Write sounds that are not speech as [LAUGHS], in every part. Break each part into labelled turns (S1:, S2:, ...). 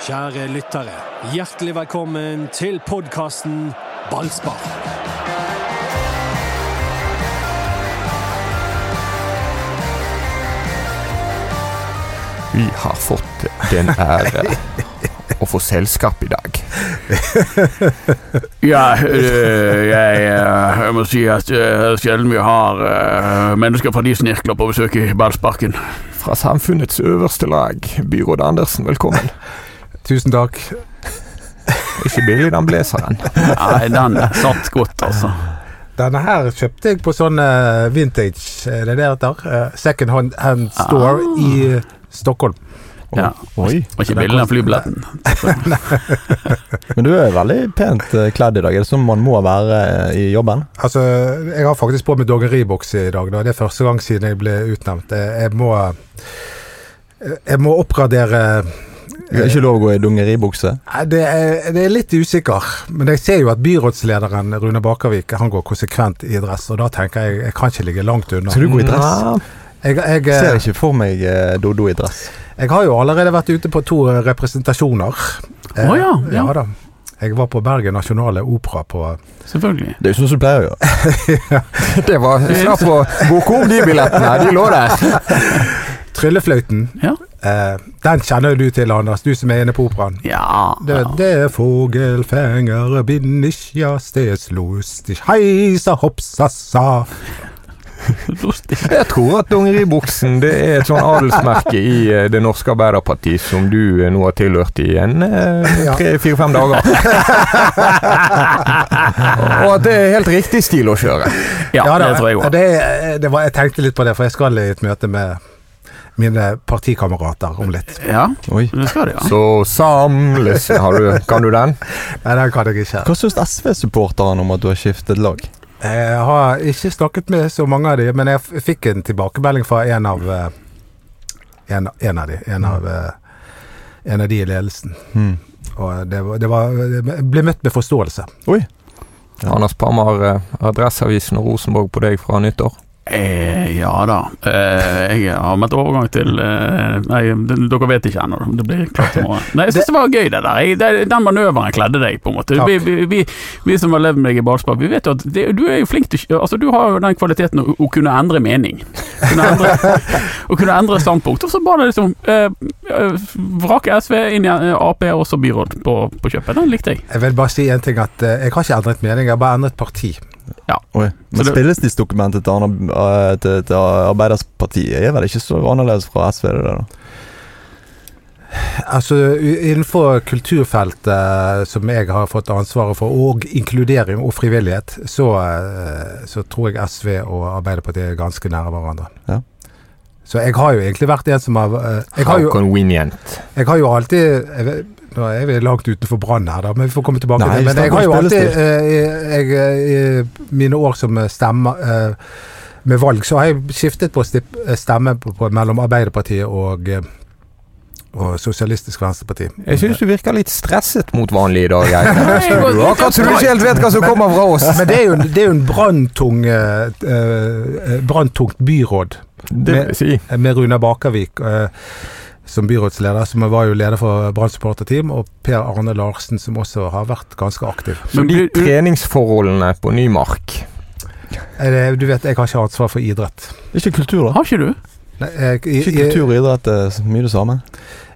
S1: Kjære lyttere, hjertelig velkommen til podkasten Ballspar.
S2: Vi har fått den ære å få selskap i dag.
S3: Ja, øh, jeg, øh, jeg må si at øh, sjelden vi har øh, mennesker fra de snirkler på besøk i ballsparken.
S2: Fra samfunnets øverste lag, byråd Andersen, velkommen.
S4: Tusen takk.
S2: Ikke billig, den blazeren.
S3: Nei, den satt godt, altså.
S4: Denne her kjøpte jeg på sånn eh, vintage, er det det heter? Eh, Second hand, hand store
S5: Ah.
S4: i Stockholm.
S3: Ja.
S5: Oi,
S3: Og ikke billig, den flybilletten.
S5: men du er veldig pent eh, kledd i dag. Er det sånn man må være eh, i jobben?
S4: Altså, jeg har faktisk på meg doggeribukse i dag, da. Det er første gang siden jeg ble utnevnt. Jeg, jeg må eh, Jeg må oppgradere
S5: Det er ikke lov å gå i dungeribukse.
S4: Nei, det er, det er litt usikker, men jeg ser jo at byrådslederen Rune Bakervik Han går konsekvent i dress, og da tenker jeg jeg kan ikke ligge langt unna.
S5: Skal du gå i dress?
S4: Jeg, jeg,
S5: Ser ikke for meg eh, Dodo i dress.
S4: Jeg har jo allerede vært ute på to eh, representasjoner. Eh,
S3: Å ja, ja.
S4: da. Jeg var på Bergen Nasjonale Opera på
S3: Selvfølgelig.
S5: Det er jo sånn som du pleier å gjøre.
S2: Det var slapp å boke om de billettene, de lå der.
S4: Tryllefløyten.
S3: Ja.
S4: Eh, den kjenner jo du til, Anders, du som er inne på operaen.
S3: Ja,
S4: Det, det er fogelfenger bin ich ja stes lustig heisa hopsa sa.
S3: lustig.
S2: Jeg tror at dungeribuksen det er et sånn adelsmerke i eh, det norske Arbeiderparti som du eh, nå har tilhørt i en eh,
S4: Ja.
S2: tre-fire-fem dager. [LAUGHS] Og at det er helt riktig stil å kjøre.
S3: Ja,
S4: Ja da,
S3: det tror jeg òg.
S4: det, eh, det var, jeg tenkte litt på det, for jeg skal i et møte med mine partikamerater om litt.
S3: Ja,
S5: [LAUGHS] Oi.
S3: det skal det, ja.
S2: Så samles har du, Kan du den?
S4: Nei, den kan jeg ikke.
S5: Hva syns SV-supporterne om at du har skiftet lag?
S4: Eh, Jeg har ikke snakket med så mange av de, men jeg f- fikk en tilbakemelding fra en av eh, En, en av de. En av, eh, en av de i ledelsen.
S5: Hmm.
S4: Og det, var- det var Jeg ble møtt med forståelse.
S5: Oi.
S2: Anders Pammer, eh, Adresseavisen og Rosenborg på deg fra nyttår.
S3: Eh, ja da. Eh, jeg har meldt overgang til eh, Nei, d- dere vet ikke ennå. Det blir klart i
S4: [LAUGHS]
S3: morgen. Nei, jeg syns det var gøy, det der. Jeg, det, den manøveren kledde deg, på en måte.
S4: Takk.
S3: Vi, vi, vi, vi som har levd med deg i ballspark, vi vet jo at det, du er jo flink til å- Altså, du har jo den kvaliteten å, å kunne endre mening. Kunne
S4: [LAUGHS]
S3: endre, å kunne endre standpunkt. Og så bare liksom eh, eh, vrake SV inn i eh, Ap og så byråd på, på kjøpet. Den likte jeg.
S4: Jeg vil bare si en ting at eh, jeg har ikke endret mening, jeg har bare endret parti.
S5: Oi.
S3: Så
S5: Men
S3: det-
S5: spilles disse dokumentet til, Arne- eh, til, til Arbeiderpartiet? Er vel ikke så annerledes fra SV, det der? da?
S4: Altså u- innenfor kulturfeltet eh, som jeg har fått ansvaret for, og inkludering og frivillighet, så, eh, så tror jeg SV og Arbeiderpartiet er ganske nære hverandre.
S5: Ja.
S4: Så jeg har jo egentlig vært en som har eh, jeg har jo,
S2: Convenient.
S4: Jeg har jo alltid jeg vet, Nå er vi langt utenfor brann her, da, men vi får komme tilbake
S5: Nei,
S4: til det. Men
S5: snakk
S4: jeg
S5: om
S4: har jo alltid
S5: spillestil.
S4: eh, jeg, eh, I mine år som stemme eh, med valg, så har jeg skiftet på stip- stemme på, på, mellom Arbeiderpartiet og, eh, og Sosialistisk Venstreparti.
S2: Jeg syns du virker litt stresset mot vanlig i dag. Jeg.
S3: jeg går-
S2: Du har Akkurat som du ikke helt vet hva som kommer fra oss.
S4: Men det er jo, en- det er jo en branntung eh, eh, branntungt byråd eh,
S2: Det vil si.
S4: med Runa Bakervik eh, som byrådsleder, som var jo leder for Brann supporterteam, og Per Arne Larsen, som også har vært ganske aktiv.
S2: Så
S3: Men
S2: de
S3: blir-
S2: treningsforholdene på Nymark
S4: Eh, det- Du vet, jeg har ikke ansvar for idrett.
S5: Det er ikke kultur, da?
S3: Har ikke du?
S4: Nei, jeg, i,
S5: Ikke kultur og idrett eh, så mye det samme?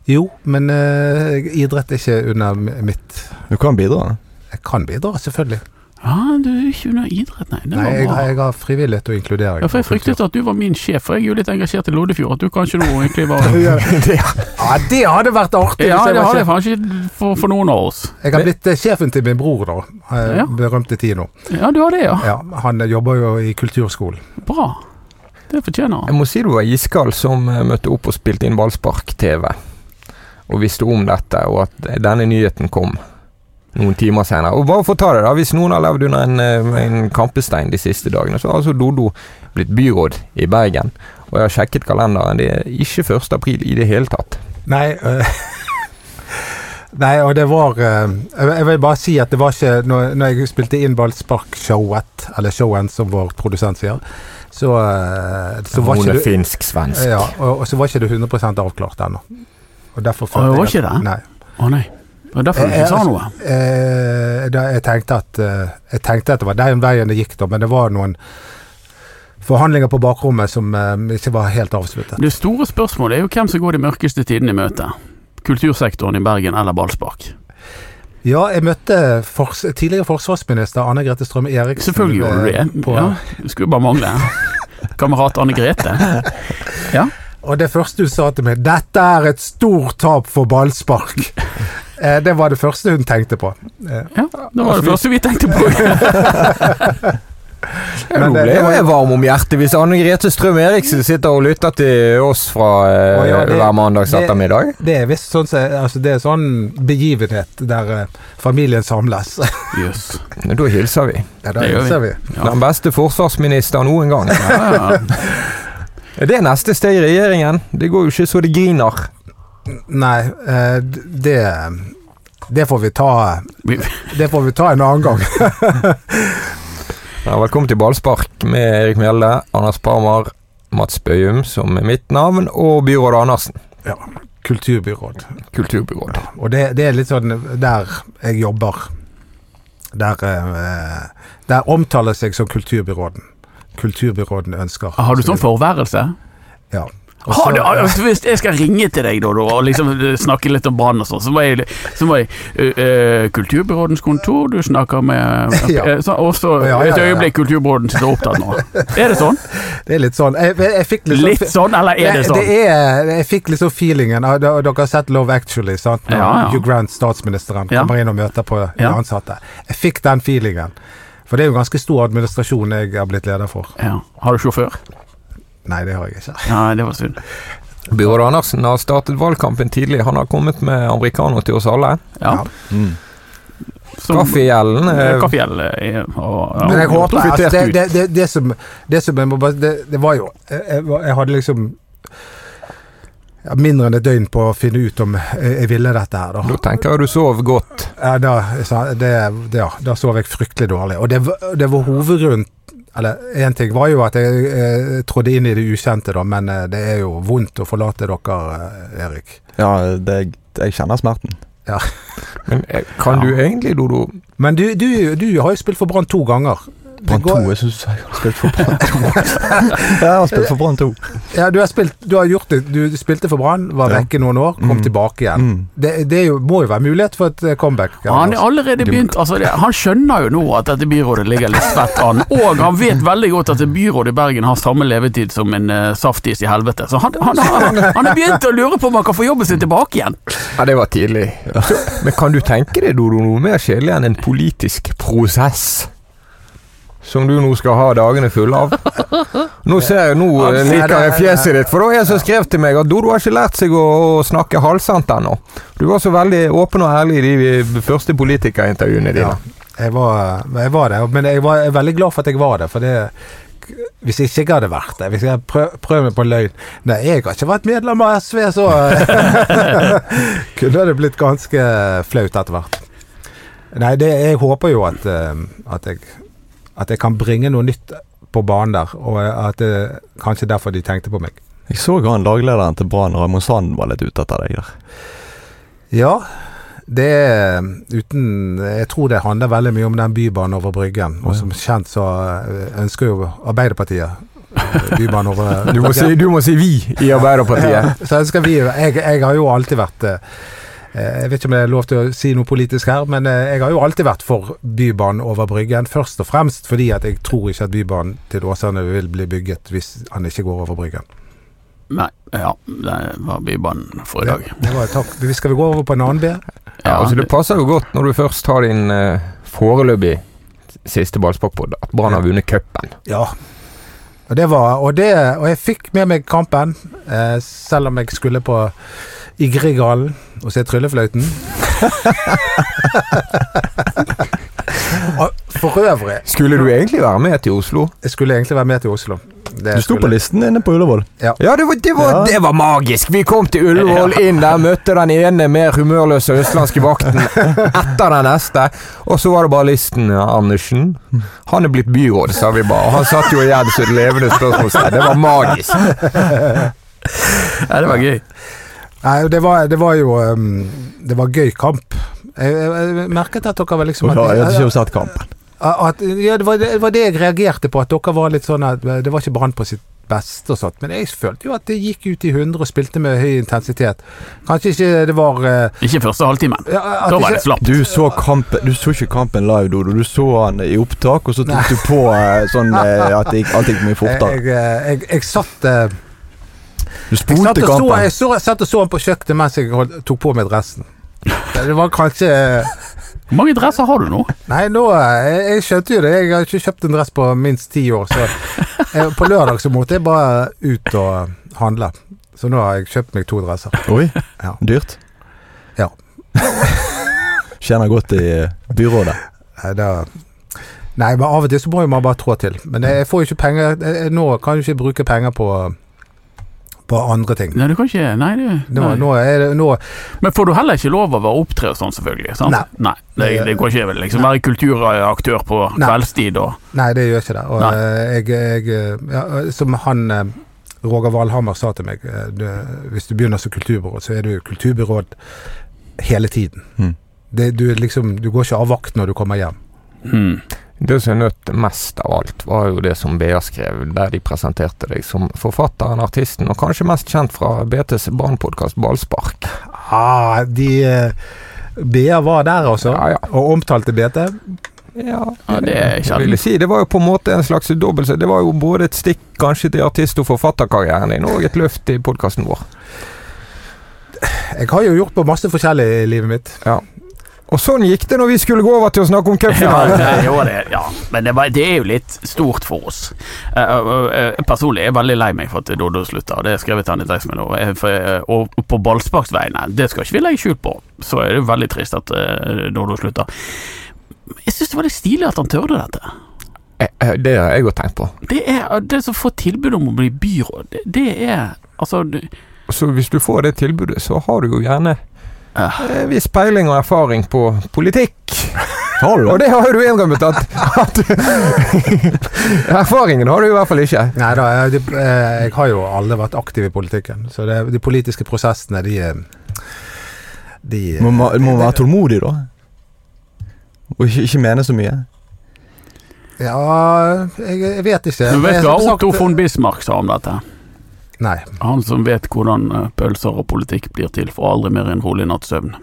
S4: Jo, men eh, idrett er ikke under m- mitt
S5: Du kan bidra. da.
S4: Jeg kan bidra, selvfølgelig.
S3: Ja, du er ikke under idrett, nei. Det
S4: Nei,
S3: var
S4: jeg,
S3: bra.
S4: jeg har frivillighet og inkludering.
S3: Ja, for Jeg fryktet at du var min sjef, for jeg er jo litt engasjert i Loddefjord. At du kanskje nå egentlig var
S4: [LAUGHS] ja,
S3: [LAUGHS]
S4: det hadde vært artig!
S3: Ja,
S4: hvis jeg,
S3: det
S4: var
S3: har jeg
S4: sjef.
S3: kanskje for, for noen av oss.
S4: jeg har blitt eh, sjefen til min bror, da. eh,
S3: Ja.
S4: Berømte Tino.
S3: Ja, du har det, ja.
S4: Ja, han eh, jobber jo i kulturskolen.
S3: Bra. Det fortjener
S2: Jeg
S3: han.
S2: må si du var iskald som eh, møtte opp og spilte inn Ballspark-TV. Og visste om dette, og at denne nyheten kom noen timer senere. Og bare for å ta det da, Hvis noen har levd under en, eh, en kampestein de siste dagene, så har altså Dodo blitt byråd i Bergen. Og jeg har sjekket kalenderen. Det er ikke 1. april i det hele tatt.
S4: Nei, eh, [LAUGHS] nei, og det var eh, Jeg jeg vil bare si at det var ikke Når, når jeg spilte inn ballsparkshowet, eller showen som vår produsent sier, så, eh, så var
S2: Hun
S4: ikke
S2: er
S4: du
S2: finsk-svensk.
S4: Ja, og, og så var ikke det 100 avklart ennå. Og derfor
S3: Å, det
S4: følte
S3: var
S4: jeg at-
S3: ikke det?
S4: Nei.
S3: Å Å nei. Det var derfor du
S4: Eh,
S3: ikke sa
S4: altså-
S3: noe.
S4: Eh, da, jeg, tenkte at, eh, jeg tenkte at det var den veien det gikk, da, men det var noen forhandlinger på bakrommet som eh, ikke var helt avsluttet.
S3: Det store spørsmålet er jo hvem som går de mørkeste tidene i møte. Kultursektoren i Bergen eller ballspark.
S4: Ja, jeg møtte fors tidligere forsvarsminister Anne Grete Strøm Eriksen.
S3: Selvfølgelig gjorde du
S4: eh,
S3: det.
S4: På,
S3: Ja, det skulle bare mangle. Kamerat Anne Grete.
S4: Og det første hun sa til meg 'Dette er et stort tap
S3: [LAUGHS]
S4: for ballspark'. Eh, det var det første hun tenkte på.
S3: Ja, det
S4: Altså,
S3: var det første vi tenkte på.
S4: Men
S2: Nå
S4: det-
S2: ble
S4: det var-
S2: eh, jeg varm om hjertet hvis Anne Grete Strøm Eriksen sitter og lytter til oss fra eh,
S4: Å, ja, det-
S2: hver mandags
S4: det-
S2: ettermiddag.
S4: Det er visst sånn, som- altså, det er sånn begivenhet der eh, familien samles.
S3: Jøss.
S2: Men Da hilser vi.
S4: [LAUGHS] ja, da
S3: Det gjør
S4: hilser vi.
S3: Ja.
S2: Den beste forsvarsminister
S4: [LAUGHS]
S2: noen gang.
S3: Ja, ja.
S2: Er det neste steg i regjeringen? Det går jo ikke så det griner.
S4: Nei, eh, d- det det får vi ta
S3: Vi-
S4: Det får vi ta en
S3: [LAUGHS]
S4: annen gang.
S2: Ja, velkommen til Ballspark med Erik Mjelde, Anders Parmar, Mats Bøyum, som er mitt navn, og byråd Andersen.
S4: Kulturbyråd.
S2: Kulturbyråd.
S4: Og det, det er litt sånn der jeg jobber. Der, eh, der omtales jeg som kulturbyråden. Kulturbyråden ønsker
S3: Har du sånn forværelse?
S4: Ja. Og
S3: Har
S4: så-
S3: du, altså, hvis jeg skal ringe til deg da, da og liksom eh, snakke litt om banen og sånn, så må jeg, så må jeg eh, eh, Kulturbyrådens kontor, du snakker med eh,
S4: Ja.
S3: eh, så, Og så
S4: Ja, ja, ja,
S3: et
S4: ja.
S3: øyeblikk Kulturbyråden sitter opptatt nå. Er det sånn?
S4: Det er litt sånn Jeg, jeg, jeg fikk litt sånn
S3: Litt sånn, eller er det sånn?
S4: Det er, jeg fikk liksom feelingen av- Dere dere har sett Love Actually, sant? Når
S3: Ja, ja.
S4: Hugh Grant, statsministeren,
S3: Ja.
S4: kommer inn og møter på de
S3: Ja.
S4: ansatte. Jeg fikk den feelingen. For det er jo ganske stor administrasjon jeg har blitt leder for.
S3: Ja. Har du sjåfør?
S4: Nei, det har jeg ikke.
S3: Nei, det var synd.
S2: Byråd Andersen har startet valgkampen tidlig. Han har kommet med americano til oss alle.
S3: Ja.
S4: Ja.
S5: Mm.
S3: Som-
S2: Kaffegjelden
S3: Eh,
S2: eh,
S3: Kaffejell eh, og ja,
S4: Men jeg håper altså,
S3: kvittert
S4: det,
S3: ut.
S4: det, det, det, som, det som jeg må bare det, det var jo jeg, jeg, var- jeg hadde liksom ja, mindre enn et døgn på å finne ut om jeg, jeg ville dette her, da.
S2: Da tenker jeg du sov godt.
S4: Ja, da, sa- det, det- ja, da sov jeg fryktelig dårlig. Og det, var- det var hovedgrunnen Eller én ting var jo at jeg eh, trådte inn i det ukjente, da, men eh, det er jo vondt å forlate dere, eh, Erik.
S5: Ja, det, jeg kjenner smerten.
S2: Men eh, kan du egentlig, Dodo
S4: Men du, du, du har jo spilt for Brann to ganger. Det
S5: Brann
S4: går-
S5: 2. Jeg syns jeg har spilt for Brann
S4: [LAUGHS]
S5: 2. ja, jeg har spilt for Brann 2.
S4: Ja, du har, spilt, du har gjort det. Du spilte for Brann, var
S5: Ja.
S4: vekke noen år, kom
S5: Mm.
S4: tilbake igjen.
S5: Mm.
S4: Det, det er jo, må jo være mulighet for et eh, comeback.
S3: Ja, Han er
S4: Anders.
S3: allerede begynt altså, det, Han skjønner jo nå at dette byrådet ligger litt svett an, og han vet veldig godt at byrådet i Bergen har samme levetid som en eh, saftis i helvete. Så han, han, han, han er begynt å lure på om han kan få jobben sin tilbake igjen.
S2: Ja, det var tidlig. Men kan du tenke deg, Dodo, noe mer kjedelig enn en politisk prosess? Som du nå skal ha dagene fulle av. Nå ser jeg, nå eh, liker jeg fjeset ditt, for det var en som skrev til meg at Dodo har ikke lært seg å å snakke halvsant ennå. Du var så veldig åpen og ærlig i de første politikerintervjuene dine.
S4: Ja, jeg var, jeg var det, men jeg var jeg er veldig glad for at jeg var det. For det hvis jeg ikke hadde vært det Hvis jeg prøv, prøv meg på en løgn Nei, jeg har ikke vært medlem av SV, så [LAUGHS] Kunne det blitt ganske flaut etter hvert. Nei, det, jeg håper jo at, eh, at, jeg, at jeg kan bringe noe nytt på banen der. Og at det kanskje derfor de tenkte på meg.
S5: Jeg så han laglederen til Brann, Raymond Sand, var litt ute etter deg der.
S4: Ja, det er uten Jeg tror det handler veldig mye om den bybanen over Bryggen. Og som kjent så eh, ønsker jo Arbeiderpartiet eh, bybanen over
S2: [LAUGHS] Du, må si, du må si 'vi' i Arbeiderpartiet.
S4: Så ønsker vi Jeg, jeg har jo alltid vært eh, eh, jeg vet ikke om det er lov til å si noe politisk her, men eh, jeg har jo alltid vært for Bybanen over Bryggen. Først og fremst fordi at jeg tror ikke at Bybanen til Åsane vil bli bygget hvis han ikke går over Bryggen.
S3: Nei, ja, det var bybanen for i dag.
S4: Det var, takk. Vi Skal vi gå over på en annen B?
S2: Ja, altså Det
S3: det,
S2: passer jo godt når du først har din eh, foreløpig siste ballsparkpod, at Brann har vunnet cupen.
S4: Ja. Og det var Og, det, og jeg fikk med meg kampen, eh, selv om jeg skulle på Igrigallen og
S5: [LAUGHS]
S4: se tryllefløyten. og for øvrig
S2: Skulle du egentlig være med til Oslo?
S4: Jeg skulle egentlig være med til Oslo. Det
S5: Du sto på
S4: skulle-
S5: listen inne på Ullevål.
S2: Ja, det var, det var,
S5: Ja.
S2: Det var magisk! Vi kom til Ullevål, inn der, møtte den ene mer humørløse østlandske vakten etter den neste. Og så var det bare listen ja, Andersen. Han er blitt byråd, sa vi bare. Og han satt jo igjen som et levende spørsmålstegn. Det var magisk.
S3: ja, det var gøy.
S4: Nei, det var, det var jo um, Det var gøy kamp. Jeg, jeg, jeg merket at dere var liksom
S5: Og da jeg hadde
S4: at,
S5: ikke jo sett kampen.
S4: at, ja, det, var, det var det jeg reagerte på, at dere var litt sånn at det var ikke Brann på sitt beste og sånt. Men jeg følte jo at det gikk ut i 100 og spilte med høy intensitet. Kanskje ikke det var eh,
S3: Ikke første halvtimen.
S4: ja, at
S3: Da var
S4: ikke-
S3: det slapt.
S5: Du så, kampen, du så ikke kampen live, Dodo. Du så han i opptak, og så tok du på eh, sånn eh, at det gikk, alt gikk mye fortere.
S4: Eh, Jeg, jeg, jeg, jeg satt eh,
S5: Du
S4: Jeg satt,
S5: spolte
S4: og så, jeg,
S5: kampen.
S4: så, jeg satt og så han på kjøkkenet mens jeg holdt, tok på meg dressen. Det var kanskje eh,
S3: Hvor mange dresser har du nå?
S4: Nei, nå eh, Jeg, jeg skjønte jo det. Jeg har ikke kjøpt en dress på minst ti år, så jeg, på lørdag så måtte jeg bare ut og handle. Så nå har jeg kjøpt meg to dresser.
S5: Oi,
S4: Ja.
S5: dyrt.
S4: Ja.
S5: Tjener godt i byrådet.
S4: Nei, da, nei, men av og til så må jo man bare trå til. Men jeg får jo ikke penger jeg- jeg- Nå kan jeg ikke bruke penger på på andre ting.
S3: Nei, du kan ikke Nei, det
S4: Nå,
S3: nei.
S4: nå er det nå,
S3: Men får du heller ikke lov av å opptre og sånn, selvfølgelig? Sant?
S4: Nei.
S3: det, det går ikke vel liksom være kulturaktør på
S4: Nei.
S3: kveldstid og
S4: Nei, det gjør ikke det. Og
S3: Nei.
S4: eh, jeg, jeg eh, ja, Som han eh, Roger Valhammer sa til meg, eh, du, hvis du begynner som kulturbyråd, så er du kulturbyråd hele tiden.
S5: Mm.
S4: Det, du, er liksom, du går ikke av vakt når du kommer hjem.
S3: hmm.
S2: Det som jeg nøt mest av alt, var jo det som BA skrev, der de presenterte deg som forfatteren, artisten og kanskje mest kjent fra BTs barnepodkast Ballspark.
S4: Ah, de eh, BA var der, altså,
S2: Ja, ja.
S4: og omtalte BT.
S2: Ja,
S3: Ja, det er
S2: jeg
S3: sjelden.
S2: vil si. Det var jo på en måte en slags dobbel Det var jo både et stikk kanskje til artist- og forfatterkarrieren din, og et løft i podkasten vår.
S4: Jeg har jo gjort på masse forskjellig i livet mitt.
S2: Og sånn gikk det når vi skulle gå over til å snakke om
S3: Ja,
S2: cupfinalen.
S3: det, jo, det, ja. Men det, var, det er jo litt stort for oss. Eh, eh, eh, personlig er jeg veldig lei meg for at Doddo slutta, og det har jeg skrevet til han i tekstmelding. Og, jeg- for, eh, og på Ballsparks vegne, det skal ikke vi legge skjul på, så er det jo veldig trist at uh, Doddo slutta. Jeg syns det var litt stilig at han tørde dette.
S2: Eh, eh, Det har jeg godt tenkt på.
S3: Det er eh, det som får tilbud om å bli byråd, det, det er altså det-
S2: Så hvis du får det tilbudet, så har du jo gjerne
S3: Ah.
S2: en viss peiling og erfaring på politikk.
S5: Har du
S2: Og
S5: det?
S2: det har jo du innrømmet at, at [LAUGHS] Erfaringen har du i hvert fall ikke.
S4: Nei da, jeg, de- eh, jeg har jo aldri vært aktiv i politikken, så det, de politiske prosessene, de, eh, de eh,
S5: Må, ma- må være tålmodig, da. Og ikke, ikke mene så mye.
S4: Ja, jeg, jeg vet ikke.
S3: Du
S4: Jeg-
S3: vet hva
S4: som sagt-
S3: Otto von Bismarck sa om dette?
S4: Nei.
S3: Han som vet hvordan eh, pølser og politikk blir til, får aldri mer enn rolig natts søvn.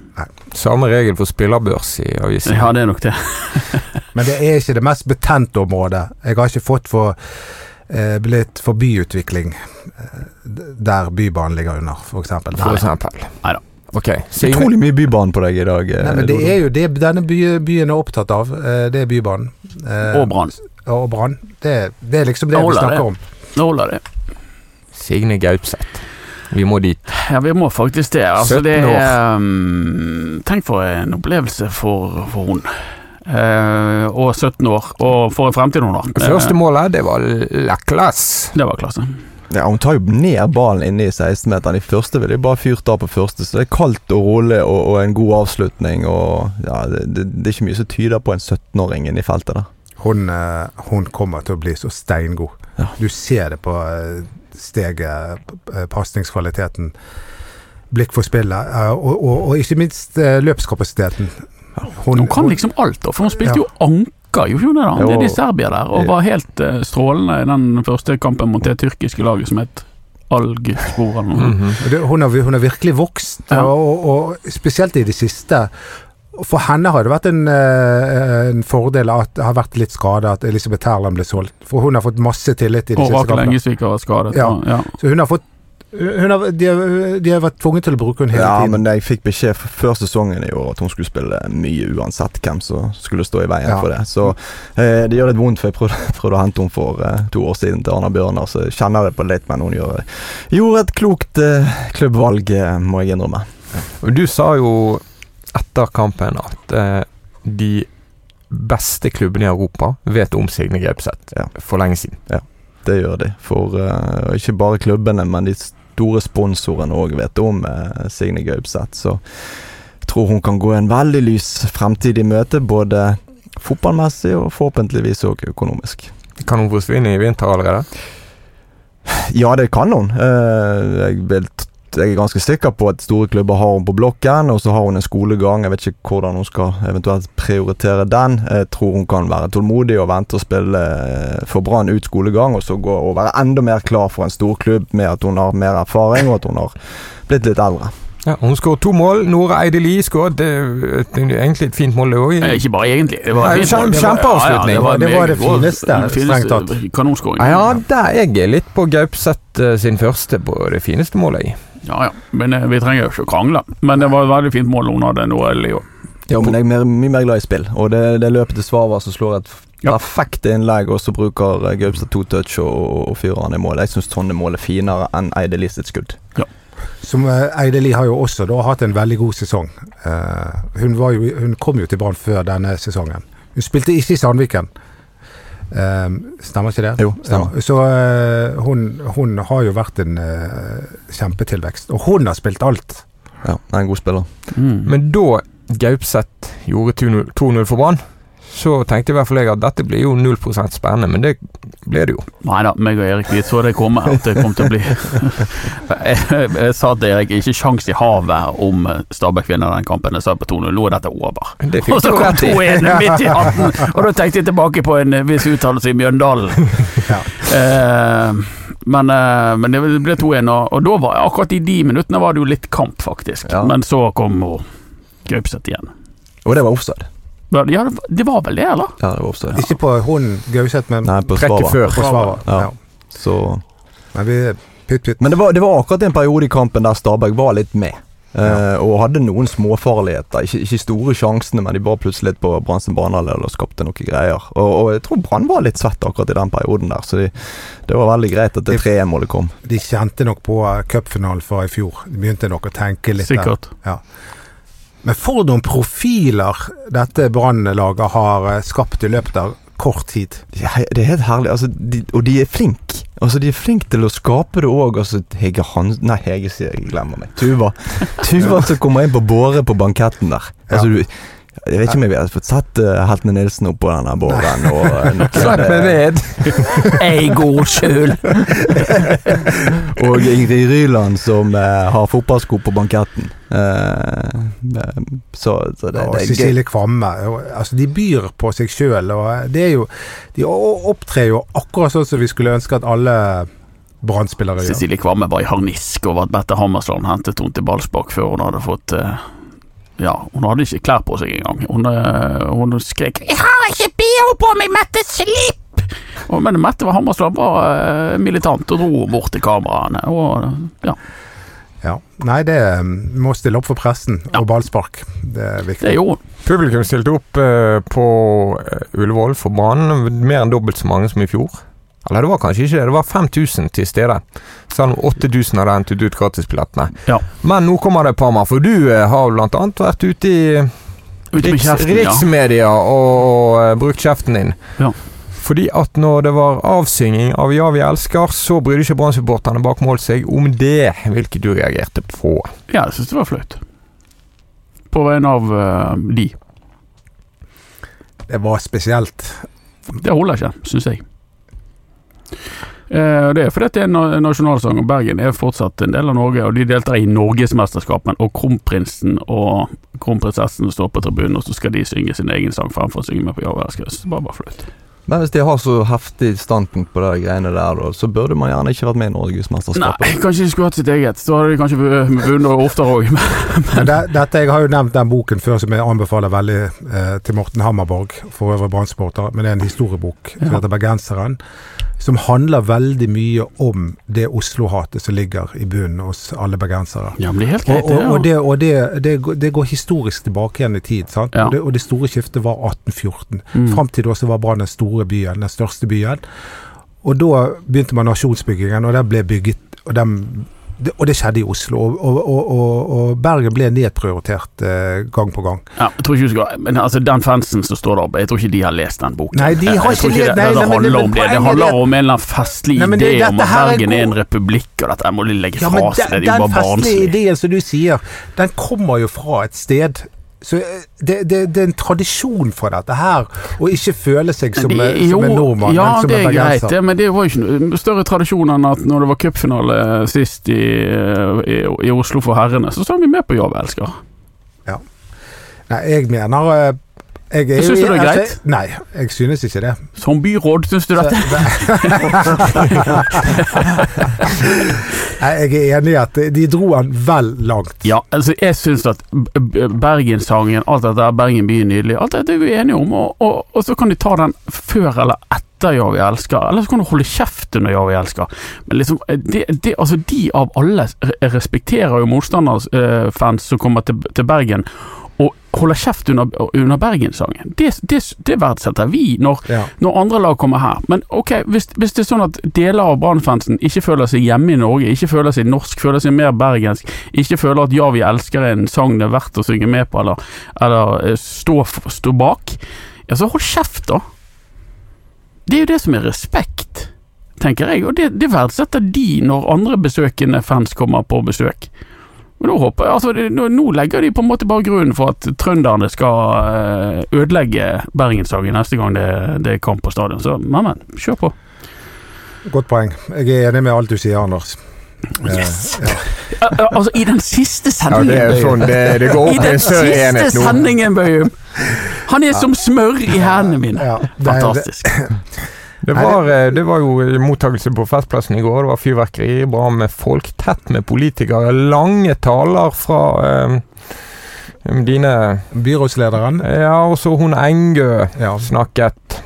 S2: Samme regel for spillerbørs i avisen.
S3: Ja, det er nok det.
S4: Men det er ikke det mest betente området. Jeg har ikke fått for eh, blitt for byutvikling eh, d- der Bybanen ligger under, f.eks.
S2: For
S4: Nei,
S2: eksempel.
S3: Neida.
S2: Ok, Signe,
S5: Utrolig mye bybane på deg i dag. eh,
S4: men det
S5: Dodo.
S4: er jo det denne by, byen er opptatt av. eh, Det er Bybanen. Eh,
S3: Og Brann.
S4: Og Brann. Det, det er liksom det
S3: Jeg
S4: vi
S3: holder det.
S4: snakker om.
S3: Nå holder det.
S2: Signe Gaupseth. Vi må dit.
S3: Ja, vi må faktisk det. Altså,
S2: 17
S3: det
S2: år.
S3: er mm, Tenk for en opplevelse for, for hun. Eh, og 17 år. Og for en fremtid hun har.
S2: Første målet, det var La Classe.
S3: Eh, det var klasse.
S5: Ja, Hun tar jo ned ballen inne i 16-meteren. I første ville de bare fyrt av på første, så det er kaldt og rolig og, og en god avslutning. Og ja, det, det, det er ikke mye som tyder på en 17-åring inne i feltet der.
S4: Hun, eh, hun kommer til å bli så steingod.
S5: Ja.
S4: Du ser det på eh, steget, eh, pasningskvaliteten, blikk for spillet, eh, og, og, og ikke minst eh, løpskapasiteten.
S3: Hun kan liksom alt, da. For hun spilte
S4: Ja.
S3: jo anker, gjorde hun det? da?
S5: Jo.
S3: Nede i Serbia der. Og var helt eh, strålende i den første kampen mot det tyrkiske laget som het Algspor eller
S2: Mm.
S3: noe.
S2: Mhm.
S4: Det- Hun har, hun har virkelig vokst,
S3: liksom- Ja.
S4: og, og spesielt i det siste. For henne har det vært en, eh, en fordel at det har vært litt skade at Elisabeth Terland ble solgt. For hun har fått masse tillit i de
S3: Og
S4: siste
S3: Rakel
S4: kampene.
S3: Engesvik var skadet.
S4: Ja.
S3: og- Ja.
S4: Så hun har fått hun har, de, har, de har vært tvunget til å bruke henne hele
S5: Ja,
S4: tiden.
S5: men jeg fikk beskjed f- før sesongen i år at hun skulle spille mye uansett hvem som skulle stå i veien
S4: Ja.
S5: for det. Så eh, det gjør litt vondt, for jeg prøvde, [LAUGHS] prøvde å hente henne for eh, to år siden til Arna Bjørnar, så jeg kjenner det på litt, men hun gjør, gjorde et klokt eh, klubbvalg, eh, må jeg innrømme.
S2: Og du sa jo etter kampen at eh, de beste klubbene i Europa vet om Signe Gaupseth
S5: Ja.
S2: for lenge siden.
S5: Det gjør de. For eh, ikke bare klubbene, men de store sponsorene òg vet om eh, Signe Gaupseth. Så jeg tror hun kan gå en veldig lys fremtid i møte, både fotballmessig og forhåpentligvis òg økonomisk.
S2: Kan hun forsvinne i vinter allerede?
S5: Ja, det kan hun. Eh, jeg vil t- jeg er ganske sikker på at store klubber har hun på blokken, og så har hun en skolegang. Jeg vet ikke hvordan hun skal eventuelt prioritere den. Jeg tror hun kan være tålmodig og vente og spille eh, for Brann ut skolegang, og så gå og være enda mer klar for en storklubb med at hun har mer erfaring, og at hun har blitt litt eldre.
S2: Ja, hun skåret to mål. Nora Eideli skåret eh, et- egentlig et fint mål, det òg.
S3: Eh, Ikke bare egentlig. Det var
S2: Nei,
S3: helt-
S2: kjem-
S3: det var-
S2: kjempeavslutning.
S4: Det var
S3: meget
S4: det
S3: god-
S4: fineste,
S3: den
S4: strengt tatt.
S3: Kanonskåring.
S2: Ja, der jeg er litt på Gaupseth eh, sin første på det fineste målet. jeg.
S3: Ja, ja. Men eh, vi trenger jo ikke å krangle. Men det var et veldig fint mål hun hadde nå, Eli. og-
S5: Ja, men jeg er mer, mye mer glad i spill, og det, det løpet til Svavar som slår et
S3: Ja.
S5: perfekt innlegg, og så bruker eh, Gaupstad to touch og, og fyrer han i mål. Jeg syns sånne mål er finere enn Eideli sitt skudd.
S4: Som eh, Eideli har jo også da hatt en veldig god sesong. Eh, hun, var jo, hun kom jo til Brann før denne sesongen. Hun spilte ikke i Sandviken. Eh, stemmer ikke det?
S5: Jo, stemmer.
S4: Ja, så eh, hun, hun har jo vært en eh, kjempetilvekst. Og hun har spilt alt!
S5: Ja, han er en god spiller.
S3: Mm.
S2: Men da Gaupseth gjorde 2-0 2-0 for Brann, så tenkte i hvert fall jeg at dette blir jo 0 spennende, men det ble det jo.
S3: Nei da, meg og Erik vi så det komme at det kom til å bli [LAUGHS] jeg, jeg sa til Erik ikke sjans i havet om eh, Stabæk vinner den kampen. Jeg sa på 2-0, nå er dette over. [LAUGHS]
S2: Det
S3: Og
S2: fikk
S3: så
S2: du
S3: kom
S2: rett i. [LAUGHS]
S3: 2-1 midt i hatten, og da tenkte jeg tilbake på en eh, viss uttalelse i Mjøndalen.
S4: Ja.
S3: Eh, men, eh, men det ble 2-1, og, og da var, akkurat i de minuttene var det jo litt kamp, faktisk.
S5: Ja.
S3: Men så kom hun Gaupseth igjen.
S5: Og det var offside.
S3: Men Ja, det var- det var vel det, eller?
S5: Ja, det var offside.
S4: Ikke på hun Gauseth, men
S5: Nei, på
S2: Trekket
S5: Svavar.
S2: før.
S4: forsvarer.
S5: Ja.
S4: Ja.
S5: Så
S4: Men vi pytt, pytt.
S5: Men det var, det var akkurat en periode i kampen der Stabæk var litt med. eh, og hadde noen småfarligheter. Ikke, ikke store sjansene, men de var plutselig litt på Brann sin banehalvdel og skapte noen greier. Og, og jeg tror Brann var litt svett akkurat i den perioden der, så de, det var veldig greit at det 3-1-målet kom.
S4: De kjente nok på eh, cupfinalen fra i fjor. De begynte nok å tenke litt der.
S3: Sikkert.
S4: Men for noen profiler dette Brann-laget har eh, skapt i løpet av kort tid.
S5: Ja, det er helt herlig. Altså, de, og de er flinke. Altså, de er flinke til å skape det òg. Altså, Hege Hansen Nei, Hege sier jeg glemmer meg. Tuva. Tuva som kommer inn på båre på banketten der. Altså, du, jeg vet ikke om jeg har fått sett uh, Heltene Nilsen oppå denne båren. Og, eh, noe-
S2: Slipp meg ned!
S3: Jeg går sjøl!
S5: og Ingrid Ryland som eh, har fotballsko på banketten. Eh, eh, så, så det,
S4: Og
S5: det er gøy.
S4: Cecilie Kvamme. og, Altså, de byr på seg sjøl, og eh, det er jo De o- opptrer jo akkurat sånn som vi skulle ønske at alle Brann-spillere gjør.
S3: Cecilie Kvamme var i harnisk over at Bette Hammersland hentet henne til ballspark før hun hadde fått eh, Ja, hun hadde ikke klær på seg engang. Hun, eh, hun skrek 'Jeg har ikke bh på meg, Mette! Slipp!' Og, men Mette var Hammersland var eh, militant og dro bort til kameraene. Og ja,
S4: Ja. Nei, det eh, må stille opp for pressen
S3: Ja.
S4: og ballspark. Det er viktig.
S3: det gjorde hun.
S2: Publikum stilte opp eh, på eh, Ullevål for banen, mer enn dobbelt så mange som i fjor. Eller det var kanskje ikke det, det var 5000 til stede. Selv om 8000 hadde hentet ut gratisbillettene.
S3: Ja.
S2: Men nå kommer det et par mer, for du eh, har blant annet vært ute i
S3: Ute med
S2: riks,
S3: kjeften, ja.
S2: riksmedia og, og eh, brukt kjeften din.
S3: Ja.
S2: Fordi at når det var avsynging av Ja, vi elsker, så brydde ikke Brann-supporterne bak mål seg om det, hvilket du reagerte på.
S3: Ja, jeg syns det var flaut. På vegne av eh, de.
S4: Det var spesielt.
S3: Det holder ikke, syns jeg. Eh, Det er fordi at det er en na- nasjonalsang, og Bergen er fortsatt en del av Norge. Og de deltar i Norgesmesterskapen, og kronprinsen og kronprinsessen står på tribunen, og så skal de synge sin egen sang fremfor å synge med på Javerskøs. Bare bare flaut.
S5: Men hvis de har så heftig standpunkt på de greiene der, da, så burde man gjerne ikke vært med i
S3: Nei,
S5: Norgesmesterskapet.
S3: kanskje de skulle hatt sitt eget. Så hadde de kanskje vu- vunnet oftere òg.
S4: Men det, dette, Jeg har jo nevnt den boken før som jeg anbefaler veldig eh, til Morten Hammerborg, for øvrig Brann-supporter, men det er en historiebok som
S3: Ja.
S4: heter 'Bergenseren', som handler veldig mye om det Oslo-hatet som ligger i bunnen hos alle bergensere.
S3: Ja, men det er helt
S4: Og,
S3: greit,
S4: og,
S3: det.
S4: og, det, og det, det, går- det går historisk tilbake igjen i tid. Sant?
S3: Ja.
S4: Og, det, og det store skiftet var 1814.
S3: Mm.
S4: Fram til da så var Brann den store byen, den største byen. Og da begynte man nasjonsbyggingen, og den ble bygget Og, den, det, og det skjedde i Oslo. Og, og, og, og, og Bergen ble nedprioritert eh, gang på gang.
S3: Ja, jeg tror ikke du skal Men altså, den fansen som står der oppe, jeg tror ikke de har lest den boken.
S4: Nei, de
S3: Jeg- jeg
S4: har
S3: tror
S4: ikke
S3: det,
S4: lest- nei,
S3: det,
S4: nei, men-
S3: handler
S4: men
S3: om det. Det
S4: poenget
S3: handler
S4: er-
S3: om en eller annen festlig
S4: Nei, men det-
S3: idé om
S4: dette
S3: at
S4: her er
S3: Bergen er en
S4: god-
S3: republikk, og dette må de legge
S4: Ja,
S3: fra
S4: men
S3: seg.
S4: den,
S3: Det er jo
S4: den
S3: bare
S4: festlige
S3: barnslig.
S4: ideen som du sier, den kommer jo fra et sted Så eh, det, det, det er en tradisjon for dette her, å ikke føle seg som,
S3: Det-
S4: eh, som en nordmann.
S3: Ja,
S4: men som
S3: det
S4: en
S3: er greit,
S4: bergenser.
S3: det, men det var jo ikke noe større tradisjon enn at når det var cupfinale sist i, i, i Oslo for herrene, så sang vi med på Ja, vi elsker.
S4: Nei, jeg mener eh, jeg er
S3: Syns
S4: jo-
S3: du det er
S4: altså,
S3: greit?
S4: Nei, jeg synes ikke det.
S3: Som byråd, syns du dette?
S4: [LAUGHS] Nei, Jeg er enig i at de dro han vel langt.
S3: Ja, altså jeg syns at B- B- Bergenssangen, alt dette her, Bergen by er nydelig, alt dette er vi enige om, og, og, og så kan de ta den før eller etter Ja, vi elsker, eller så kan du holde kjeft under Ja, vi elsker. Men liksom, det, det, altså de av alle re- respekterer jo motstanders eh, fans som kommer til, til Bergen, og holder kjeft under, under Bergenssangen. Det, det, det verdsetter vi når
S4: Ja.
S3: når andre lag kommer her. Men ok, hvis, hvis det er sånn at deler av Brann-fansen ikke føler seg hjemme i Norge, ikke føler seg norsk, føler seg mer bergensk, ikke føler at 'Ja, vi elsker' er en sang det er verdt å synge med på, eller, eller eh, stå, f- stå bak, ja, så hold kjeft, da. Det er jo det som er respekt, tenker jeg, og det, det verdsetter de når andre besøkende fans kommer på besøk. Men nå, håper jeg, altså, det- nå, nå legger de på en måte bare grunnen for at trønderne skal eh, ødelegge Bergensdagen neste gang det, det er kamp på stadion. Så men, men, kjør på.
S4: Godt poeng. Jeg er enig med alt du sier, Anders. Yes.
S3: Eh, eh, altså, i den siste
S2: Ja,
S3: sendingen
S2: det er jo sånn det, det
S3: [LAUGHS] I
S2: går opp i
S3: den
S2: en større
S3: siste
S2: enhet nå.
S3: sendingen, Bøyum! Han er som smør i hendene mine.
S4: ja, det, det,
S3: Fantastisk.
S2: Det var, eh, det var jo mottakelse på Festplassen i går. Det var fyrverkeri, bra med folk, tett med politikere. Lange taler fra eh, dine
S4: byrådslederen
S2: Ja, også hun Engø
S4: ja.
S2: snakket.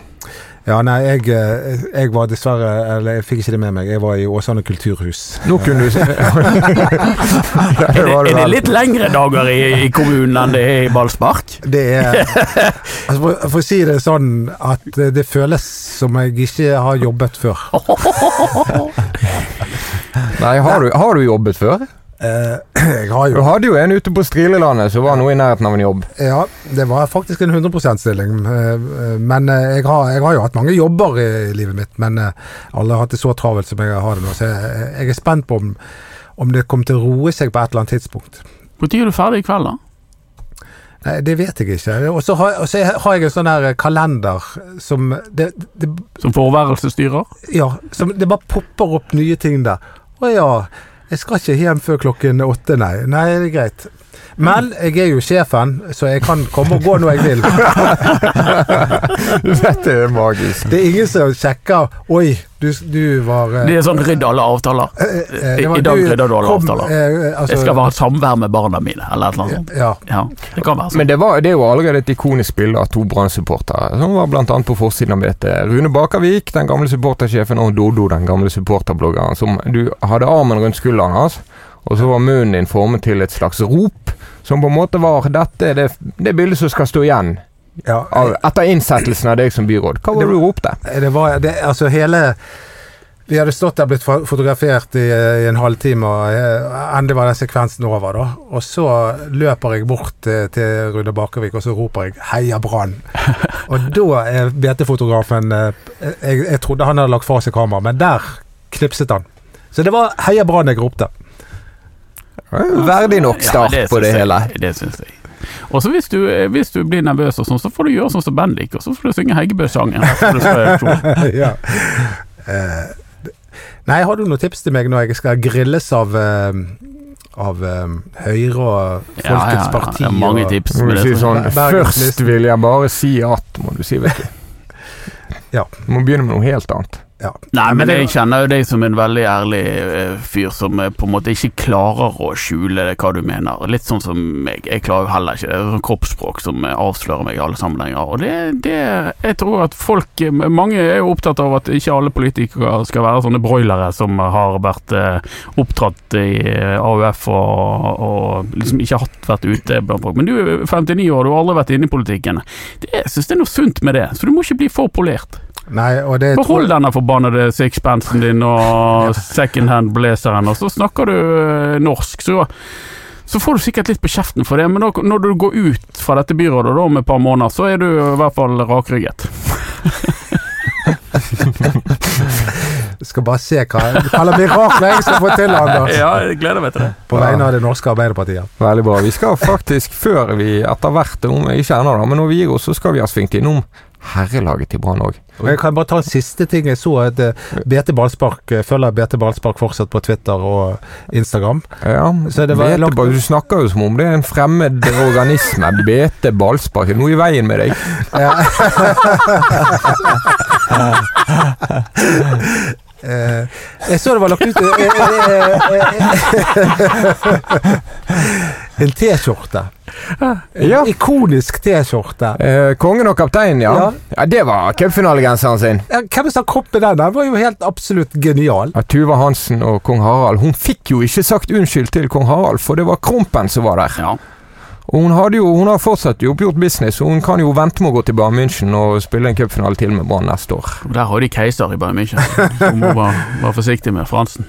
S4: ja, nei, jeg, eh, jeg var dessverre Eller jeg fikk ikke det med meg. Jeg var i Åsane kulturhus.
S2: Nå kunne
S3: [LAUGHS]
S2: du se [LAUGHS]
S3: Er det, er det litt lengre dager i, i kommunen enn det er i ballspark?
S4: Det er
S3: [LAUGHS]
S4: altså for, for å si det sånn at eh, det føles som jeg ikke har jobbet før.
S2: Nei, har du, har du jobbet før?
S4: Eh, [CLEARS THROAT] jeg har
S2: Du
S4: jo
S2: hadde jo en ute på Strilelandet som var noe i nærheten av en jobb. [LAUGHS]
S4: Ja, det var faktisk en 100 %-stilling. eh, eh, Men eh, jeg har, jeg har jo hatt mange jobber i livet mitt, men eh, alle har hatt det så travelt som jeg har det nå. Så jeg, jeg er spent på om, om det kommer til å roe seg på et eller annet tidspunkt.
S3: Når er du ferdig i kveld, da?
S4: Nei, det vet jeg ikke. Og så har, og så har jeg en sånn her kalender som det, det,
S3: Som forværelsesstyrer?
S4: ja, som det bare popper opp nye ting der. Å ja, jeg skal ikke hjem før klokken åtte, nei. Nei, det er greit. Men jeg er jo sjefen, så jeg kan komme og gå når jeg vil.
S2: Dette er magisk.
S4: Det er ingen som sjekker Oi, du, du var eh,
S3: Det er sånn rydd alle avtaler. i-
S4: eh, det var
S3: i dag
S4: du-
S3: rydder du alle
S4: kom,
S3: avtaler.
S4: eh, eh, altså-
S3: Jeg skal være samvær med barna mine, eller et eller annet sånt.
S4: Ja.
S3: Ja, det kan være sånn.
S2: Men det, var, det er jo allerede et ikonisk bilde av to Brann-supportere, som var blant annet på forsiden av BT. Rune Bakervik, den gamle supportersjefen, og Dodo, den gamle supporterbloggeren, som du hadde armen rundt skulderen hans, og så var munnen din formet til et slags rop, som på en måte var dette er det, det bildet som skal stå igjen
S4: ja.
S2: av, etter innsettelsen av deg som byråd. Hva var det du ropte?
S4: Det var det, Altså, hele Vi hadde stått der, blitt fo- fotografert i, i en halvtime, og eh, endelig var den sekvensen over, da. Og så løper jeg bort eh, til Rune Bakervik, og så roper jeg 'Heia
S3: [LAUGHS]
S4: Brann'. Og da er BT-fotografen eh, jeg, jeg trodde han hadde lagt fra seg kameraet, men der knipset han. Så det var 'Heia Brann' jeg ropte.
S2: Verdig nok start
S3: Ja,
S2: på det
S3: syns
S2: hele.
S3: Jeg, det syns jeg. Og så hvis, du- eh, hvis du blir nervøs, og sånn, så får du gjøre sånn som Bendik, og så får du synge
S2: [LAUGHS]
S3: Heggebø-sangen. rett før du skal i aksjon.
S4: ja. Eh, nei, har du noen tips til meg når jeg skal grilles av eh, av eh, Høyre og Folkets
S3: Ja, ja, ja,
S4: Parti?
S3: det er mange
S4: og-
S3: tips.
S2: Må
S3: men
S2: du
S3: det tror
S2: si
S3: jeg.
S2: sånn
S4: Bergenslisten.
S2: Først vil jeg bare si at Må du si, vet du.
S4: [LAUGHS] Ja.
S2: Du må begynne med noe helt annet.
S3: Nei, men
S4: Men det-
S3: jeg kjenner jo deg som en veldig ærlig eh, fyr som eh, på en måte ikke klarer å skjule hva du mener. Litt sånn som meg. Jeg klarer jo heller ikke det. er sånn Kroppsspråk som eh, avslører meg i alle sammenhenger. Og det, det Jeg tror at folk eh, Mange er jo opptatt av at ikke alle politikere skal være sånne broilere som har vært eh, oppdratt i eh, AUF og, og liksom ikke hatt vært ute blant folk. Men du er 59 år, du har aldri vært inne i politikken. Det, jeg syns det er noe sunt med det, så du må ikke bli for polert.
S4: Nei, og det tror-
S3: Behold denne forbannede sixpensen din [LAUGHS] og second hand blazeren, og så snakker du eh, norsk, så så får du sikkert litt på kjeften for det, men da, når du går ut fra dette byrådet da, om et par måneder, så er du i hvert fall rakrygget.
S4: Skal bare se hva Eller mirakler jeg skal få til, Anders!
S3: Ja, jeg gleder meg til det.
S4: På vegne av det norske Arbeiderpartiet.
S2: Veldig bra. Vi skal faktisk, [LAUGHS] før vi etter hvert om Ikke ennå, da, men når vi gir oss, så skal vi ha svingt innom herrelaget til Brann òg.
S4: Og jeg kan bare ta en siste ting. Jeg så at eh, BT Ballspark eh, følger BT Ballspark fortsatt på Twitter og Instagram.
S2: Ja,
S4: Så det var
S2: Bete
S4: langt-
S2: Ball- du snakker jo som om det er en fremmed organisme. [LAUGHS] Bete Ballspark, er det noe i veien med deg?
S4: Eh, jeg så det var lagt ut eh, eh, eh, En T-skjorte.
S2: Ja.
S4: En Ikonisk T-skjorte.
S2: Eh, kongen og kapteinen, ja. ja.
S4: Ja.
S2: Det var cupfinalegenseren sin.
S4: Ja, Hvem som kom med den? Den var jo helt absolutt genial.
S2: Ja, Tuva Hansen og kong Harald. Hun fikk jo ikke sagt unnskyld til kong Harald, for det var Krompen som var der.
S3: [LAUGHS] Ja.
S2: Og hun, hadde jo, hun har fortsatt jo gjort business, og hun kan jo vente med å gå til Bayern München og spille en cupfinale til med Brann neste år.
S3: Der har de keiser i Bayern München. Du må bare være forsiktig med Fransen.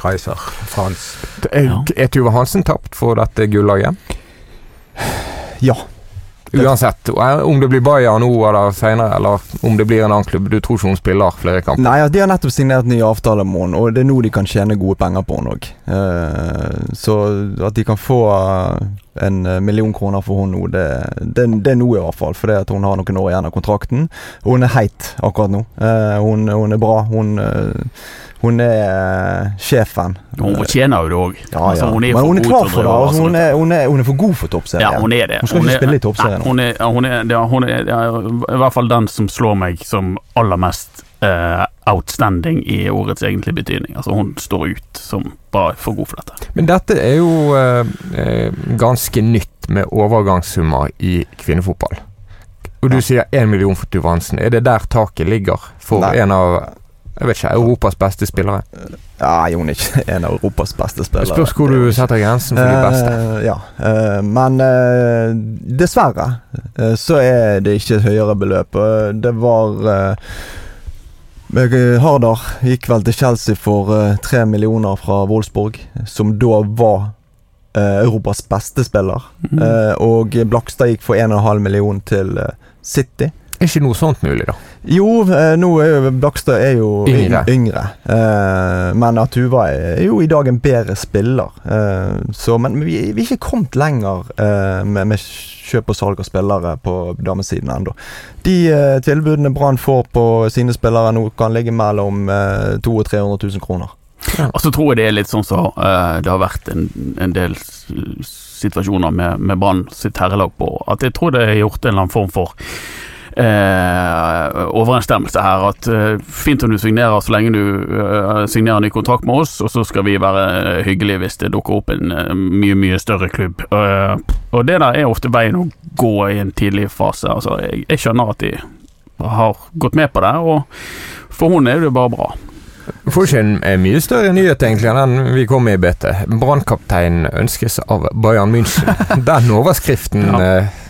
S4: Kaiser Frans.
S2: Er,
S3: Ja.
S2: er Tuva Hansen tapt for dette gullaget?
S5: Ja.
S2: Uansett, og er- om det blir Bayern nå eller senere, eller om det blir en annen klubb. Du tror ikke hun spiller flere kamper?
S5: Nei, ja, de har nettopp signert ny avtale med henne, og det er nå de kan tjene gode penger på henne òg. så at de kan få eh, en million kroner for henne nå, det, det, det er nå i hvert fall. Fordi at hun har noen år igjen av kontrakten. Og hun er heit akkurat nå. Eh, hun, hun er bra. Hun, eh, hun er eh, sjefen.
S3: Hun fortjener jo det Altså,
S5: Ja,
S3: òg.
S5: ja. Men hun er klar for det. Altså, hun, er, hun, er, hun er for god for toppserien.
S3: Ja, hun er det.
S5: Hun skal ikke
S3: er-
S5: spille i toppserien.
S3: Nei, Hun er, ja, hun er, ja, hun er, ja, i hvert fall den som slår meg som aller mest eh, outstanding i ordets egentlige betydning. Altså, hun står ut som bare for god for dette.
S2: Men dette er jo eh, eh, ganske nytt med overgangssummer i kvinnefotball. Og du
S5: Ja.
S2: sier én million for Tuva Hansen. Er det der taket ligger for
S5: Nei.
S2: en av jeg vet ikke, Europas beste spillere?
S5: Nei, hun er ikke en av Europas beste
S2: Det
S5: spillere.
S2: spørs hvor
S5: Det er
S2: du
S5: hun ikke.
S2: setter grensen for de beste.
S5: Eh, ja, eh, men eh, dessverre eh, så er det ikke et høyere beløp. Eh, det var eh, Hardar gikk vel til Chelsea for eh, tre millioner fra Wolfsburg, som da var eh, Europas beste spiller.
S3: Mm.
S2: Mm.
S5: Eh, og Blakstad gikk for 1,5 million til eh, City.
S2: Er ikke noe sånt mulig, da?
S5: Jo, eh, nå er jo Blakstad er jo
S2: Yngre.
S5: yngre, yngre. Eh, men at Tuva er jo i dag en bedre spiller. Eh, så, men vi, vi er ikke kommet lenger eh, med, med kjøp og salg av spillere på damesiden ennå. De eh, tilbudene Brann får på sine spillere nå, kan ligge mellom eh, 200 000 og 300 000 kroner.
S3: Og så tror jeg det er litt sånn som eh, det har vært en, en del s- situasjoner med, med Brann sitt herrelag på, at jeg tror det er gjort en eller annen form for eh, overensstemmelse her. At eh, fint om du signerer så lenge du eh, signerer ny kontrakt med oss, og så skal vi være eh, hyggelige hvis det dukker opp en eh, mye, mye større klubb. Eh, og det der er ofte veien å gå i en tidlig fase. Altså, jeg, jeg skjønner at de har gått med på det, og for hun er det jo bare bra.
S2: Får ikke en, en mye større nyhet egentlig enn den vi kom med i BT. Brannkapteinen ønskes av Bayern
S4: [LAUGHS]
S2: München. Den overskriften
S3: Ja.
S2: eh,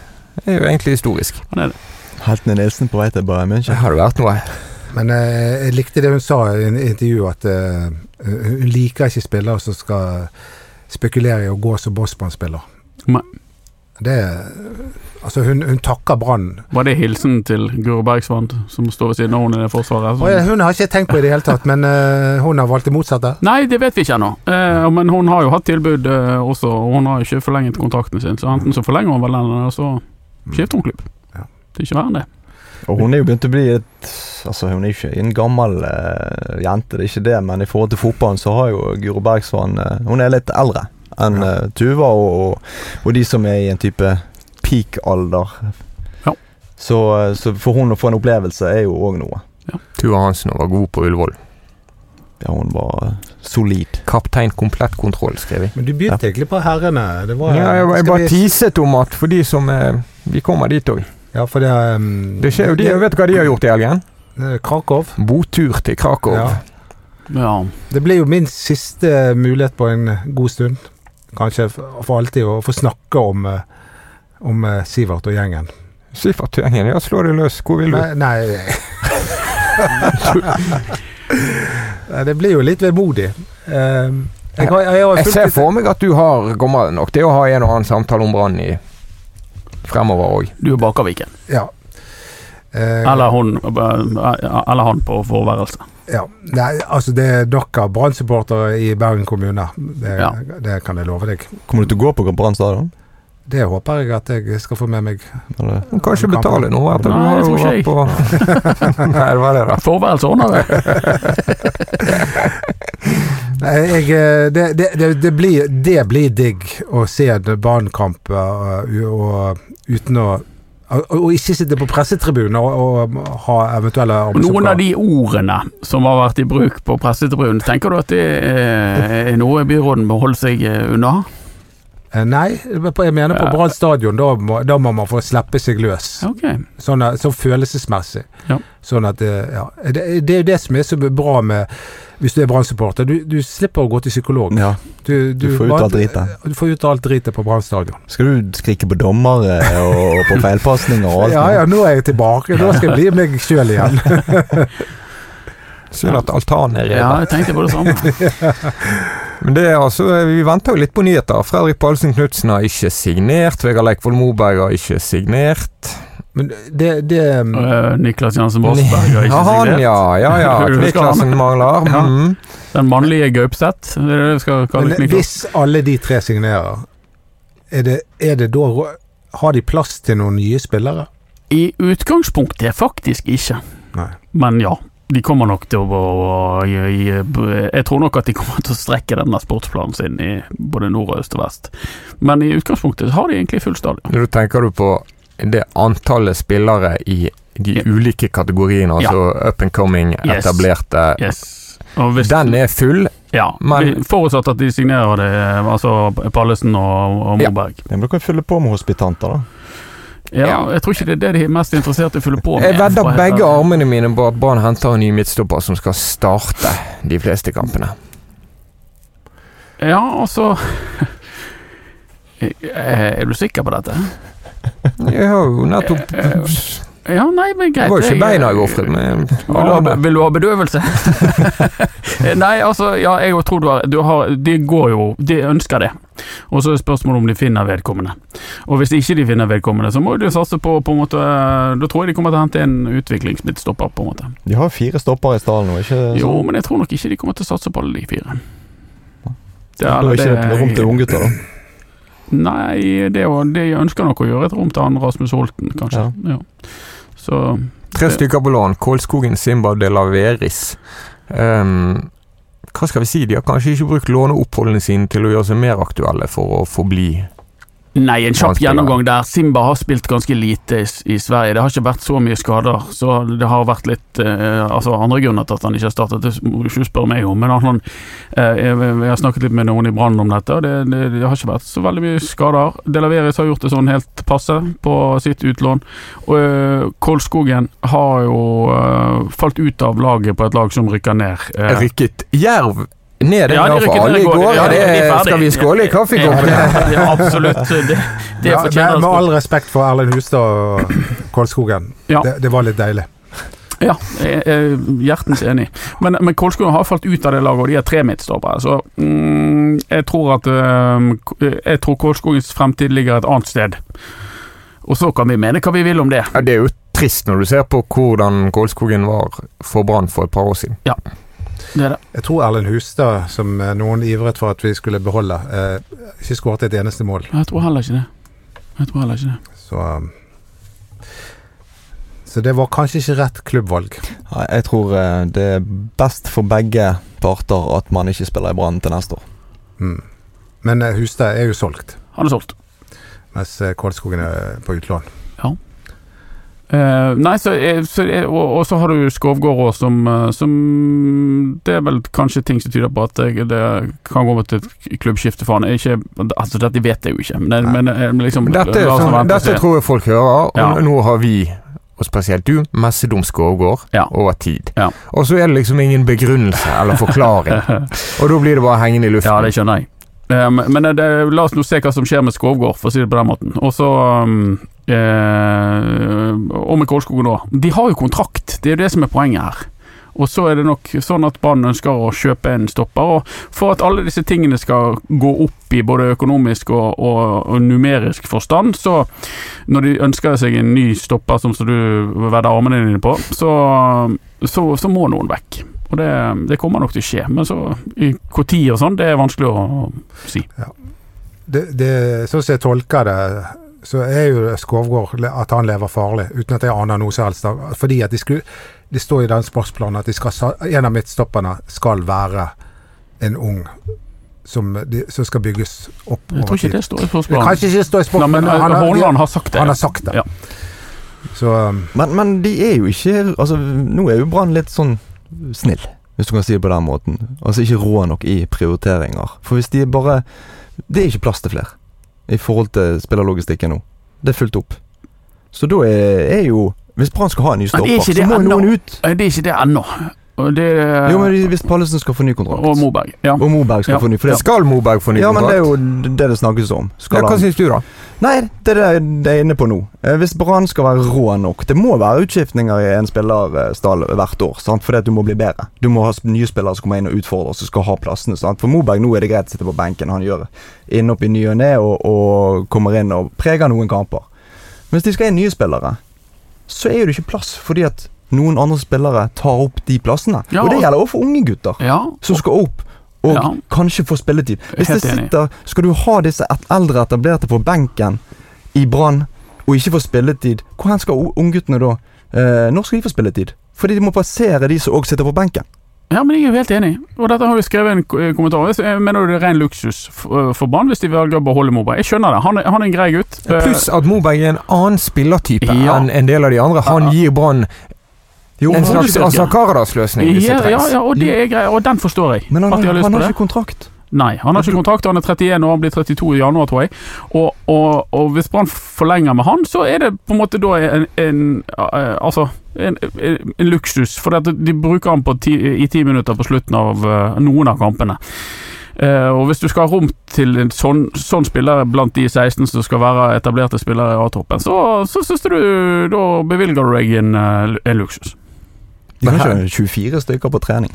S2: er jo egentlig historisk.
S3: Han er det.
S5: Heltene Nilsen på vei til Bayern
S2: Det
S5: München.
S2: hadde vært noe.
S4: Men eh, jeg likte det hun sa i en intervju, at eh, hun liker ikke spillere som skal spekulere i å gå som Bosman-spiller.
S3: Nei.
S4: Det Altså, hun, hun takker Brann.
S3: Var det hilsen til Guro Bergsvand, som står ved siden av henne i det forsvaret?
S4: Og, eh, Hun har ikke jeg tenkt på i det hele tatt, men eh, hun har valgt det motsatte.
S3: Nei, det vet vi ikke ennå, eh, men hun har jo hatt tilbud eh, også, og hun har jo ikke forlenget kontrakten sin, så enten så forlenger hun vel den, eller så skifter hun klubb.
S4: Ja.
S3: Det er ikke verre enn det.
S5: Og hun er jo begynt å bli et Altså, hun er ikke en gammel eh, jente, det er ikke det, men i forhold til fotballen så har jo Guro Bergsvann eh, Hun er litt eldre enn
S4: Ja.
S5: eh, Tuva og, og, og de som er i en type peak-alder.
S3: Ja.
S5: Så, eh, så for hun å få en opplevelse er jo òg noe.
S2: Tuva Hansen var god på Ullevål.
S5: Ja, hun var eh, solid.
S2: Kaptein komplett kontroll, skrev jeg.
S4: Men du begynte egentlig på herrene. Det var,
S2: Ja, jeg, jeg
S4: skal
S2: bare
S4: vi-
S2: tiset om at for de som eh, Vi kommer dit òg.
S4: Ja, for det um,
S2: Det skjer jo de, vet du hva de har gjort i helgen?
S4: eh, Krakow.
S2: Botur til Krakow.
S4: Ja.
S3: Ja.
S4: Det ble jo min siste mulighet på en god stund, kanskje for for alltid, å få snakke om, eh, om eh, Sivert og gjengen.
S2: Sivert Tøyengen, ja, slå deg løs. Hvor vil du?
S4: Nei, nei. Nei, Det blir jo litt vemodig. Eh, Jeg har, jeg har
S2: Jeg
S4: fulgt
S2: ser
S4: litt-
S2: for meg at du har kommer nok til å ha en og annen samtale om Brann i fremover òg.
S3: Du er Bakerviken.
S4: Ja. Eh,
S3: Eller hun, eh, eller han på forværelse.
S4: Ja. Nei, altså det er dere Brann-supportere i Bergen kommune. Det,
S3: Ja.
S4: det kan jeg love deg.
S5: Kommer du til å gå på Brann stadion?
S4: Det håper jeg at jeg skal få med meg.
S5: Eller?
S2: Men Kanskje
S4: Kampen.
S2: betale noe etter du
S3: Nei,
S2: har
S3: jeg
S2: jo
S3: tror
S2: vært
S3: ikke
S2: på
S3: [LAUGHS]
S2: [LAUGHS] Nei, det var det, da.
S3: Forværelse ordner det.
S4: Nei, jeg, eh, det, det, det, det, blir, det blir digg å se en banekamp eh, u- og, uten å og, og ikke sitte på pressetribunen og, og ha eventuelle
S3: Og Noen av
S4: arbeidsoppgaver.
S3: de ordene som har vært i bruk på pressetribunen, tenker du at det eh, er noe byråden må holde seg eh, unna?
S4: Eh, Nei, jeg mener på
S3: Ja.
S4: Brann stadion. Da, må- da må man få slippe seg løs.
S3: Ok.
S4: Sånn, at- så følelsesmessig.
S3: Ja.
S4: Sånn at, eh, ja. det, det er jo det som er så bra med hvis du er Brann-supporter. Du, du slipper å gå til
S3: Mm.
S4: psykolog.
S5: Ja,
S4: Du,
S5: du får ut
S4: bare-
S5: all driten.
S4: Du får ut alt dritet på Brann stadion.
S5: Skal du skrike på dommere og på feilpasninger og alt?
S4: [LAUGHS] Ja ja, nå er jeg tilbake. Nå skal jeg bli meg
S5: [LAUGHS]
S4: sjøl igjen.
S2: Synd at altanen er
S3: Ja,
S2: revet.
S3: jeg tenkte på det samme.
S2: Men det er altså, Vi venter jo litt på nyheter. Fredrik Paulsen Knutsen har ikke signert. Vegard Leikvoll Moberg har ikke signert.
S4: Men det, det
S3: Eh, Niklas Jansen Bossberg har
S2: Ja,
S3: ikke
S2: han,
S3: signert.
S2: ja. Ja ja.
S3: Husker [LAUGHS] du
S2: Kviklassen mangler.
S3: Ja.
S2: Mm.
S3: Den mannlige Gaupseth. Det er det vi skal kalle
S4: men
S3: Niklas.
S4: hvis alle de tre signerer, er det, er det da rå- Har de plass til noen nye spillere?
S3: I utgangspunktet faktisk ikke,
S4: Nei.
S3: men ja. De kommer nok til å, å- å- gi- gi- Jeg tror nok at de kommer til å strekke denne sportsplanen sin i både nord, og øst og vest. Men i utgangspunktet har de egentlig full stadion.
S2: Nå tenker du på det antallet spillere i de
S3: Ja.
S2: ulike kategoriene,
S3: Ja.
S2: altså up and coming,
S3: Yes.
S2: etablerte.
S3: Yes. Og hvis,
S2: Den er full.
S3: ja,
S2: men-
S3: vi- forutsatt at de signerer det, altså Pallesen og, og
S2: Ja.
S3: Moberg.
S5: Ja, men du kan fylle på med hospitanter, da.
S3: Ja. jeg tror ikke det er det de er mest interessert i å fylle på med.
S2: Jeg vedder
S3: for å være helt
S2: begge
S3: ærlig.
S2: armene mine på at Brann henter en ny midtstopper som skal starte de fleste kampene.
S3: Ja, altså [LAUGHS] Er du sikker på dette?
S2: Jeg har jo nettopp
S3: Eh, Ja, nei, men
S2: Det
S3: greit.
S2: var jo
S3: jeg-
S2: ikke beina jeg ofret, men
S3: Vil du, ha, vil du ha bedøvelse? Nei, altså, ja, jeg jo tror du har, du har De går jo De ønsker det. Og så er spørsmålet om de finner vedkommende. Og hvis ikke de finner vedkommende, så må de satse på på en måte Da tror jeg de kommer til å hente en utviklingsmidtstopper, på en måte.
S5: De har fire stoppere i stallen nå, ikke sant?
S3: Jo, men jeg tror nok ikke de kommer til å satse på alle de fire. Det
S5: Da er ikke det rom til unggutter, da.
S3: Nei, det er jo, de ønsker nok å gjøre et rom til han Rasmus Holten, kanskje. Ja. Så
S2: Tre stykker på lån. Kålskogen, Simba og De Laveris. Ehm, hva skal vi si? De har kanskje ikke brukt låneoppholdene sine til å gjøre seg mer aktuelle for å forbli
S3: Nei, en kjapp
S2: Vanskelig,
S3: gjennomgang der. Simba har spilt ganske lite i, s- i Sverige. Det har ikke vært så mye skader, så det har vært litt eh, altså andre grunner til at han ikke har startet. Det må du ikke spørre meg om, men han, eh, jeg, jeg har snakket litt med noen i Brann om dette, og det, det, det har ikke vært så veldig mye skader. Delaveris har gjort det sånn helt passe på sitt utlån, og eh, Kolskogen har jo eh, falt ut av laget på et lag som rykker ned. Eh,
S2: Rykket Jerv ned?
S3: Ja,
S2: Ja,
S3: de
S2: det
S3: rykket
S2: for alle
S3: ned
S2: i
S3: i
S2: går.
S3: går. Ja,
S2: Er det,
S3: de er ferdig.
S2: skal vi skåle i kaffekoppen?
S3: ja, ja, absolutt. Det,
S2: [LAUGHS]
S3: det
S4: Ja,
S3: fortjener altså-
S4: med, med all respekt for Erlend Hustad og Kolskogen.
S3: Ja.
S4: Det, det var litt deilig.
S3: Ja, jeg er hjertens enig. Men, men Kolskogen har falt ut av det laget, og de er tre midtstoppere. Så mm, jeg tror at øhm, K- Jeg tror Kolskogens fremtid ligger et annet sted. Og så kan vi mene hva vi vil om det.
S2: Ja, det er jo trist når du ser på hvordan Kålskogen var for Brann for et par år siden.
S3: Det er det.
S4: Jeg tror Erlend Hustad, som eh, noen ivret for at vi skulle beholde, eh, ikke skåret et eneste mål.
S3: Jeg tror heller ikke det. Jeg tror heller ikke det.
S4: Så, um, så det var kanskje ikke rett klubbvalg.
S5: [CLEARS THROAT] Nei, Jeg tror eh, det er best for begge parter at man ikke spiller i Brann til neste år.
S4: Mm. Men eh, Hustad er jo solgt,
S3: Han er solgt.
S4: mens eh, Kolskogen er på utlån.
S3: Eh, nei, så, eh, så eh, og, og så har du Skovgård også, som, eh, som Det er vel kanskje ting som tyder på at det, det kan gå mot et klubbskifte for han. Er Ikke, altså, dette vet jeg jo ikke, men,
S4: Nei.
S3: men eh, liksom
S2: Men Dette, er
S3: la oss nå
S2: sånn,
S3: vente og
S2: dette
S3: se.
S2: tror jeg folk hører, og
S3: Ja.
S2: nå har vi, og spesielt du, messedom Skovgård
S3: Ja.
S2: over tid.
S3: Ja.
S2: Og så er det liksom ingen begrunnelse eller
S3: [LAUGHS]
S2: forklaring. Og da blir det bare hengende i luften.
S3: Ja, det skjønner jeg. Um, men eh, det, la oss nå se hva som skjer med Skovgård, for å si det på den måten. Og så um, eh, Og med Kolskogen òg. De har jo kontrakt, det er jo det som er poenget her. Og så er det nok sånn at Brann ønsker å kjøpe en stopper. Og for at alle disse tingene skal gå opp i både økonomisk og, og, og numerisk forstand, så når de ønsker seg en ny stopper, sånn som så du vedder armene dine på, så, så, så må noen vekk. Og det, det kommer nok til å skje, men så i når og sånn, det er vanskelig å si.
S4: det, det, sånn som jeg tolker det, så er jo Skovgård le- at han lever farlig, uten at jeg aner noe som helst. av- Fordi at de skulle, det står i den sportsplanen at de skal, sa- en av midtstopperne skal være en ung som, de, som skal bygges opp
S3: Jeg tror ikke det står i spørsmålet.
S4: Kanskje ikke det står i
S3: Nei,
S4: sportsplanen,
S3: men
S4: men han
S3: Horneland
S4: har,
S3: har sagt det.
S4: han har sagt det.
S3: Ja.
S4: Så um,
S5: Men, men de er jo ikke Altså, nå er jo Brann litt sånn snill, hvis du kan si det på den måten. Altså ikke rå nok i prioriteringer. For hvis de bare Det er ikke plass til flere i forhold til spillerlogistikken nå. Det er fullt opp. Så da er, er jo Hvis Brann skal ha en ny
S3: Men er
S5: stopper,
S3: ikke
S5: så
S3: det
S5: må jo
S3: ennå?
S5: noen ut.
S3: Eh, Det er ikke det ennå. Og det
S5: Jo, men hvis Pallesen skal få ny kontrakt,
S3: Eh, Og Moberg. Ja.
S5: og Moberg skal
S3: Ja.
S5: få ny for det,
S2: Skal Moberg få ny
S5: Ja, men det er
S2: kontrakt?
S5: jo det det snakkes om.
S2: Ja,
S5: Skal
S2: hva
S5: han
S2: syns du, da?
S5: Nei, det er det jeg er inne på nå. Eh, Hvis Brann skal være rå nok Det må være utskiftninger i en spillerstall hvert år. Sant? Fordi at du må bli bedre. Du må ha sp- nye spillere som kommer inn og utfordrer som skal ha plassene. Sant? For Moberg nå er det greit å sitte på benken. Han gjør innopp i ny og ne og, og kommer inn og preger noen kamper. Men hvis de skal inn nye spillere, så er jo det ikke plass. Fordi at noen andre spillere tar opp de plassene.
S3: Ja,
S5: og det
S3: og-
S5: gjelder også for unge gutter
S3: ja.
S5: som skal opp og
S3: Ja.
S5: kanskje få spilletid. Hvis det
S3: Helt enig.
S5: sitter, skal du ha disse et- eldre etablerte på benken i Brann og ikke få spilletid, hvor hen skal u- ungguttene da? Eh, når skal de få spilletid? Fordi de må passere de som òg sitter på benken.
S3: ja, men jeg er jo helt enig. Og dette har vi skrevet i en ko- eh, kommentar. Jeg mener jo det er ren luksus for, for Brann hvis de velger å beholde Moberg. Jeg skjønner det. Han er, han er en grei gutt. Eh,
S2: Pluss at Moberg er en annen spillertype
S3: Ja.
S2: enn en del av de andre. Han gir Brann en slags
S3: hovedstyrke.
S2: Asakaradas-løsning, hvis
S3: ja,
S2: det
S3: ja,
S2: trengs.
S3: ja, og det er greit, Eh, og den forstår jeg.
S5: Men han,
S3: at de har
S5: har-
S3: lyst
S5: han
S3: på
S5: har
S3: det.
S5: ikke kontrakt.
S3: Nei, han har ikke kontrakt, han er 31 og han blir 32 i januar, tror jeg. Og, og, og hvis Brann forlenger med han, så er det på en måte da en, en eh, Altså en, en, en luksus, for at de bruker han på ti, i ti minutter på slutten av eh, noen av kampene. Eh, og Hvis du skal ha rom til en sånn, sånn spiller blant de 16 som skal være etablerte spillere i A-troppen, så, så synes du da bevilger du deg en, eh, en luksus.
S5: De
S2: Men
S5: har ikke 24 stykker på trening.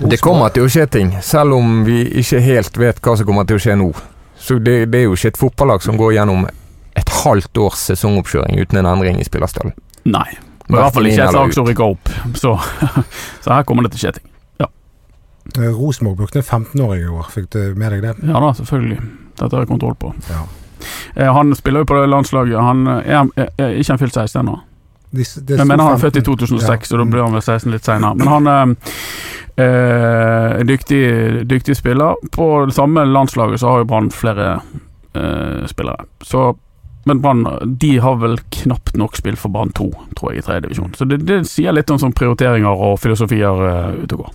S2: Det kommer til å skje ting, selv om vi ikke helt vet hva som kommer til å skje nå. Så det, det er jo ikke et fotballag som går gjennom et halvt års sesongoppkjøring uten en endring i spillerstallen.
S3: Nei. I hvert fall ikke et lag som rykker opp. Så, [LAUGHS] så her kommer det til å skje ting.
S4: eh, Rosenborg brukte en 15-åring i år, fikk du med deg det?
S3: Ja da, selvfølgelig. Dette har jeg kontroll på.
S4: Ja.
S3: Eh, han spiller jo på det landslaget. Han eh, er, er, er ikke han fylt 16 ennå.
S4: De s- det
S3: Jeg
S4: sto
S3: mener han er
S4: 15.
S3: født i 2006,
S4: Ja.
S3: og da blir han vel 16 litt seinere. Men han eh, eh, er dyktig, dyktig spiller. På det samme landslaget så har jo Brann flere eh, spillere. Så men Brann de har vel knapt nok spill for Brann 2, tror jeg, i tredje divisjon. Så det, det sier litt om sånn prioriteringer og filosofier eh, ute og går.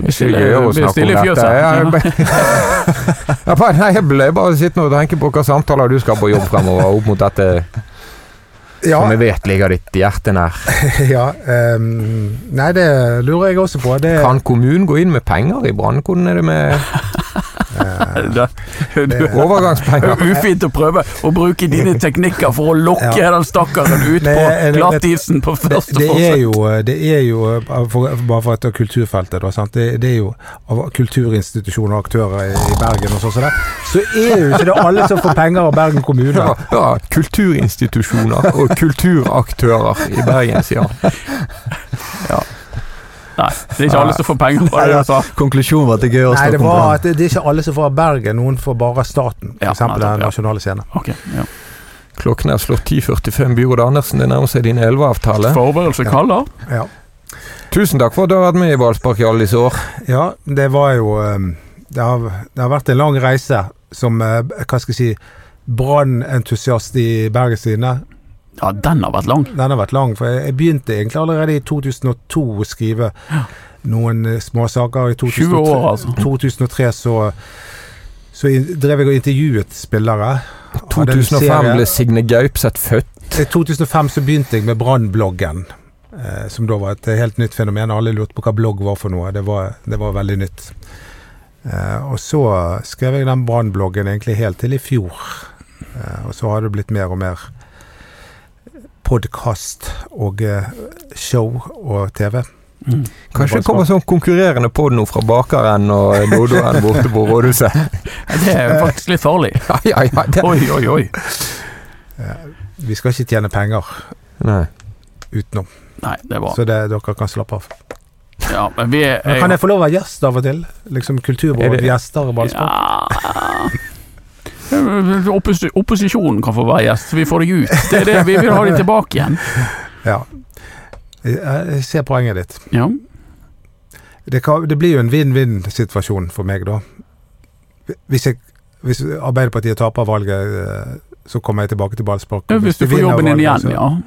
S2: Det er ikke gøy å
S3: Vi er
S2: snakke
S3: stille i
S2: om dette.
S3: fjøset.
S2: Jeg, [LAUGHS] Ja, bare- nei, jeg ble bare sittende og tenke på hvilke samtaler du skal på jobb fremover, opp mot dette
S4: Ja, [LAUGHS]
S2: som jeg vet ligger ditt hjerte nær.
S4: ja ehm, Nei, det lurer jeg også på. Det,
S2: Kan kommunen gå inn med penger i Brann? Hvordan er det med
S4: Eh,
S3: [LAUGHS] Det, du, [LAUGHS] Det
S2: overgangspenger?
S3: er Ufint å prøve å bruke dine teknikker for å lokke
S4: Ja.
S3: den stakkaren ut
S4: Nei,
S3: på
S4: jeg- jeg-
S3: glattisen på
S4: det,
S3: første
S4: det er
S3: forsøk.
S4: jo, det er jo eh, for, Bare for at det er kulturfeltet, da. Sant? Det, det er jo av kulturinstitusjoner og aktører i, i Bergen og sånn som det, så er jo ikke det alle som får penger av Bergen
S2: [LAUGHS]
S4: kommune.
S2: Ja, ja, kulturinstitusjoner og kulturaktører i Bergen, sier han.
S3: Nei, det er ikke alle som får penger fra det. Altså.
S5: Konklusjonen var at det er gøy å
S4: Nei,
S5: snakke
S4: det
S5: om
S4: var
S5: Brann.
S4: at det, det er ikke alle som får av Bergen. Noen får bare av staten,
S3: Ja,
S4: f.eks.
S3: nettopp,
S4: den
S3: ja.
S4: nasjonale scenen.
S3: Ok, ja.
S2: Klokken er slått 10.45. Byråd Andersen, det nærmer seg din 11-avtale.
S3: Forberedelse kaller.
S4: Ja.
S2: Tusen takk for at du har vært med i Valspark i alle disse år.
S4: ja, det var jo ehm, Det har, det har vært en lang reise som eh, Hva skal jeg si Brannentusiast i Bergens Tidende.
S3: Ja, den har vært lang.
S4: Den har vært lang, for jeg jeg begynte egentlig allerede i 2002 å skrive noen eh, småsaker. I 2003,
S3: 20 år, altså.
S4: 2003 så, så in- drev jeg og intervjuet spillere. Hadde en
S2: 2005
S4: serie.
S2: ble Signe Gaupseth født.
S4: I 2005 så begynte jeg med Brannbloggen, eh, som da var et helt nytt fenomen. Alle lurte på hva blogg var for noe. Det var, det var veldig nytt. Eh, og så skrev jeg den Brannbloggen egentlig helt til i fjor. Eh, og så har det blitt mer og mer podkast og eh, show og TV.
S3: Mm.
S2: Kanskje det kommer sånn konkurrerende podd nå fra bakeren og dodoen borte på rådhuset.
S3: Det er jo faktisk litt
S4: [LAUGHS]
S3: farlig.
S2: [LAUGHS] Ja, ja, ja. Det.
S3: Oi, oi, oi.
S4: Vi skal ikke tjene penger
S2: Nei.
S4: utenom,
S3: Nei, det er bra.
S4: så det, dere kan slappe av.
S3: Ja, men vi er
S4: Men kan jeg få lov å være gjest av og til? Liksom
S2: Er det-
S4: Kulturråd-gjester og
S3: Ja.
S4: ballspark?
S3: Oppos opposisjonen kan få være gjest, vi får deg ut. Det er det, vi vil ha deg tilbake igjen.
S4: Ja. Jeg jeg ser poenget ditt.
S3: Ja.
S4: Det, kan, det blir jo en vinn-vinn-situasjon for meg, da. Hvis, jeg, hvis Arbeiderpartiet taper valget, eh, så kommer jeg tilbake til ballspark. og
S3: Hvis du
S4: de
S3: får
S4: vinner
S3: jobben din igjen,
S4: valget, så- [LAUGHS]
S3: ja.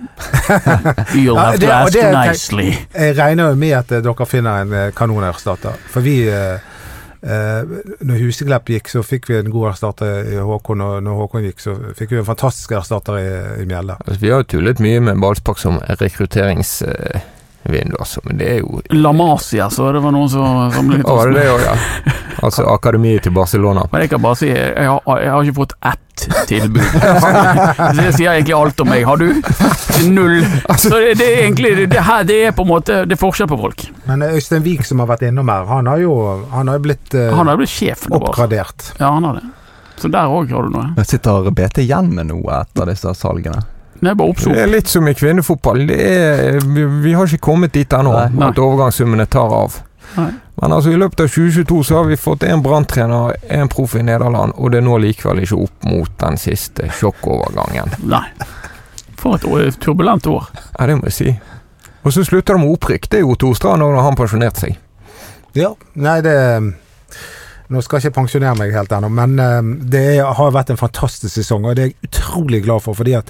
S3: You'll
S4: Ja,
S3: have
S4: det-
S3: to
S4: og
S3: ask
S4: det tenk-
S3: nicely.
S4: Jeg regner jo med at eh, dere finner en eh, kanonerstatter. For vi eh, eh, Når Huseklepp gikk, så fikk vi en god erstatter i Håkon, og når Håkon gikk, så fikk vi en fantastisk erstatter i, i Mjelde.
S2: Altså, vi har jo tullet mye med Ballspark som rekrutteringsvindu, altså, men det er jo
S3: La Masia, så det var noen som, som ble litt
S2: Å, var det det òg, ja? Altså akademiet til Barcelona.
S3: Men jeg kan bare si, jeg har, jeg har ikke fått ett tilbud.
S2: [LAUGHS]
S3: Så det sier egentlig alt om meg. Har du? Null.
S2: Altså-
S3: Så det, det er egentlig det, det her, det er på en måte Det er forskjell på folk.
S4: Men eh, Øystein Wiik, som har vært innom her, han har jo han har jo blitt eh,
S3: Han har blitt sjef nå, bare.
S4: oppgradert.
S3: Ja, han har det. Så der òg har du noe.
S5: Jeg sitter BT igjen med noe etter disse salgene?
S3: Det er bare
S2: Det
S3: oppsum.
S2: er litt som i kvinnefotballen. Det er, vi, vi har ikke kommet dit ennå
S5: Nei.
S3: Nei.
S2: at overgangssummene tar av.
S3: Nei.
S2: Men altså, i løpet av 2022 så har vi fått én branntrener, én proff i Nederland, og det når likevel ikke opp mot den siste sjokkovergangen.
S3: Nei. For et år, turbulent år.
S2: Ja, det må jeg si. Og så slutter det med opprykk. Det er jo Torstrand når han pensjonerte seg.
S4: Ja, nei det Nå skal jeg ikke pensjonere meg helt ennå, men eh, det er, har vært en fantastisk sesong, og det er jeg utrolig glad for. fordi at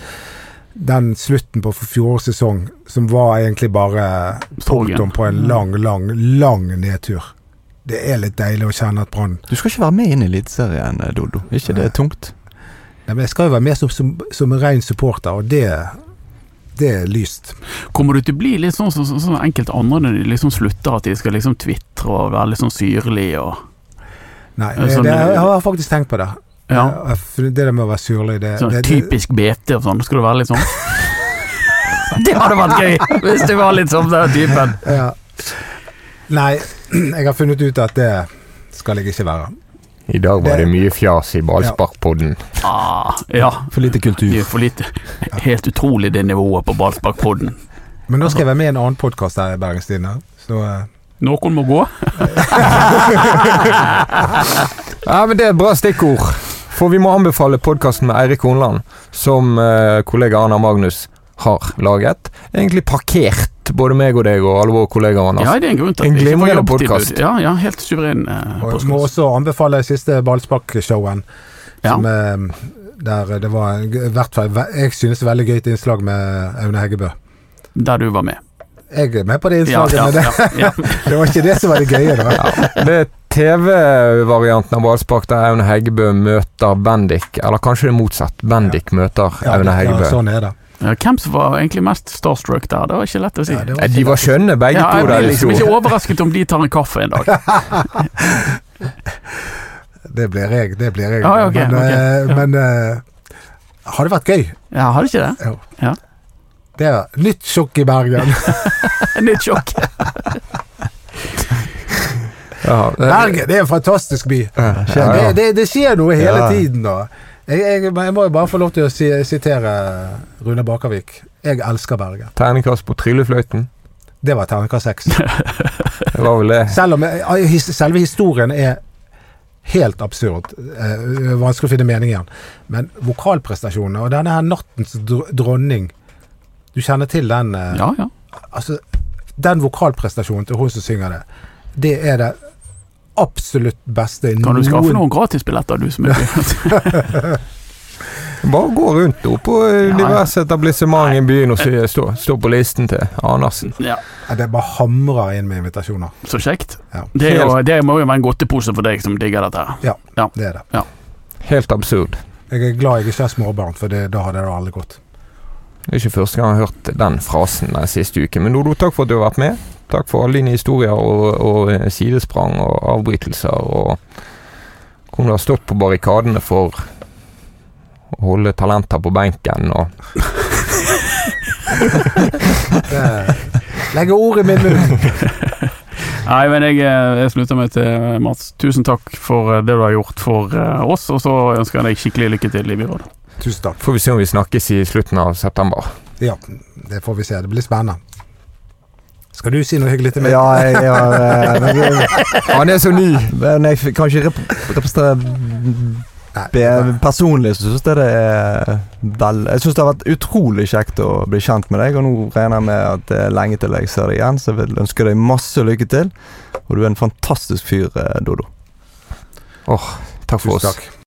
S4: den slutten på fjorårets sesong, som var egentlig bare
S3: Sorgen. Mm.
S4: punktum på en lang, lang, lang nedtur. Det er litt deilig å kjenne at Brann
S5: Du skal ikke være med inn i Eliteserien, eh, Dodo. Er ikke det tungt?
S4: Nei, men Jeg skal jo være med som, som, som en ren supporter, og det, det er lyst.
S3: Kommer du til å bli litt sånn som sånn, sånn, enkelte andre når de liksom slutter, at de skal liksom tvitre og være litt sånn syrlig og
S4: Nei,
S3: Ja,
S4: det,
S3: sånn-
S4: jeg har faktisk tenkt på det.
S3: ja,
S4: Jeg- jeg- Det der med å være surlig, Eh, det,
S3: sånn
S4: det, det
S3: Typisk BT og sånn. Skal du være litt sånn? [LAUGHS] Det hadde vært gøy, hvis du var litt sånn den typen.
S4: Ja. Nei, [CLEARS THROAT] jeg har funnet ut at det skal jeg ikke være.
S2: I dag var det mye fjas i ballsparkpodden.
S3: Ah, ja.
S5: For lite
S3: Det
S5: kultur.
S3: er for lite. Helt utrolig det nivået på ballsparkpodden.
S4: Men nå skal jeg være med i en annen podkast her i Bergens Tidende. Så eh,
S3: Noen må gå.
S2: Ja, men Det er et bra stikkord. For vi må anbefale podkasten med Eirik Honland, som eh, kollega Anna Magnus har laget. Egentlig parkert både meg og deg og alle våre kollegaer. Anders.
S4: Altså,
S3: Ja, det er en grunn til at vi
S2: En
S3: ikke får
S2: glimrende
S3: jobbtilbud.
S2: podcast.
S3: Ja, ja, helt suveren eh,
S4: og jeg må
S3: podcast.
S4: også anbefale siste ballsparkshowen.
S3: Ja.
S4: Som, eh, der det var en, i hvert fall ve- jeg synes veldig gøyt innslag med Aune Heggebø.
S3: Der du var med.
S4: Jeg er med på det
S3: Ja,
S4: innslaget,
S3: ja,
S4: men det,
S3: ja, ja.
S4: det var ikke det som var det gøye. Da.
S3: [LAUGHS]
S2: Det er TV-varianten av ballspark der Aune Heggebø møter Bendik. Eller kanskje det er motsatt. Bendik møter
S4: Ja,
S2: Aune Heggebø.
S4: ja, sånn er det.
S3: Ja, Hvem som var egentlig mest starstruck der? Det var ikke lett å si.
S4: Ja, det
S2: Eh,
S4: var
S2: De var skjønne, begge
S3: Ja, jeg
S2: to.
S3: blir
S2: der de
S3: liksom
S2: sto.
S3: ikke overrasket om de tar en kaffe en dag.
S4: [LAUGHS] Det blir jeg. Det blir jeg.
S3: Ja, ja, ok,
S4: men eh,
S3: ok, ja.
S4: men eh, har det vært gøy?
S3: Ja, Har de ikke det?
S4: Det er nytt sjokk i
S2: [LAUGHS]
S4: Bergen.
S3: [LAUGHS] Nytt sjokk.
S2: Ja, eh,
S4: Bergen det er en fantastisk by.
S2: ja,
S4: Det,
S2: ja.
S4: det, det skjer noe hele
S5: Ja.
S4: tiden da. Jeg, jeg, jeg må jo bare få lov til å si, sitere Rune Bakervik. Jeg elsker Bergen.
S2: Terningkast på tryllefløyten.
S4: Det var terningkast
S2: [LAUGHS]
S4: seks.
S2: Det var vel det.
S4: Selv om eh, his, selve historien er helt absurd. Eh, vanskelig å finne mening i den. Men vokalprestasjonene og denne her nattens dr dronning Du kjenner til den? Eh,
S3: Ja, ja.
S4: Altså, den vokalprestasjonen til hun som synger det, det er det absolutt beste
S3: Kan du skaffe noen gratisbilletter, du som er
S4: [LAUGHS]
S2: Bare gå rundt opp på
S3: Ja,
S2: eh,
S3: ja.
S2: diverse etablissementer i byen og si- stå, stå på listen til Andersen.
S3: Ja,
S4: Ja, Det bare hamrer inn med invitasjoner.
S3: Så kjekt.
S4: Ja.
S3: Det, er jo, det må jo være en godtepose for deg som digger dette. her
S4: Det er det.
S2: Helt absurd.
S4: Jeg er glad jeg ikke er småbarn, for det, da hadde det aldri gått.
S2: Det er ikke første gang jeg har hørt den frasen den siste uken. Men Dodo, takk for at du har vært med. Takk for alle dine historier og, og eh, sidesprang og avbrytelser og hvordan du har stått på barrikadene for å holde talenter på benken og
S4: Det- Legger ordet i min munn.
S3: Nei, men jeg, eh, jeg slutter meg til Mats. Tusen takk for eh, det du har gjort for eh, oss, og så ønsker jeg deg skikkelig lykke til i byrådet.
S4: Tusen takk.
S2: Får vi se om vi snakkes i slutten av september.
S4: Ja, det får vi se. Det blir spennende. Skal du si noe hyggelig til meg?
S5: Ja, jeg, har, eh, men jeg,
S2: [LAUGHS] Han er så ny!
S5: men jeg f- kan ikke rep- representere
S4: Nei,
S5: Be- Personlig så syns jeg det er vel Jeg syns det har vært utrolig kjekt å bli kjent med deg, og nå regner jeg med at det er lenge til jeg ser deg igjen, så jeg vil ønske deg masse lykke til. Og du er en fantastisk fyr, eh, Dodo.
S2: Takk for
S4: tusen
S2: oss.
S4: takk.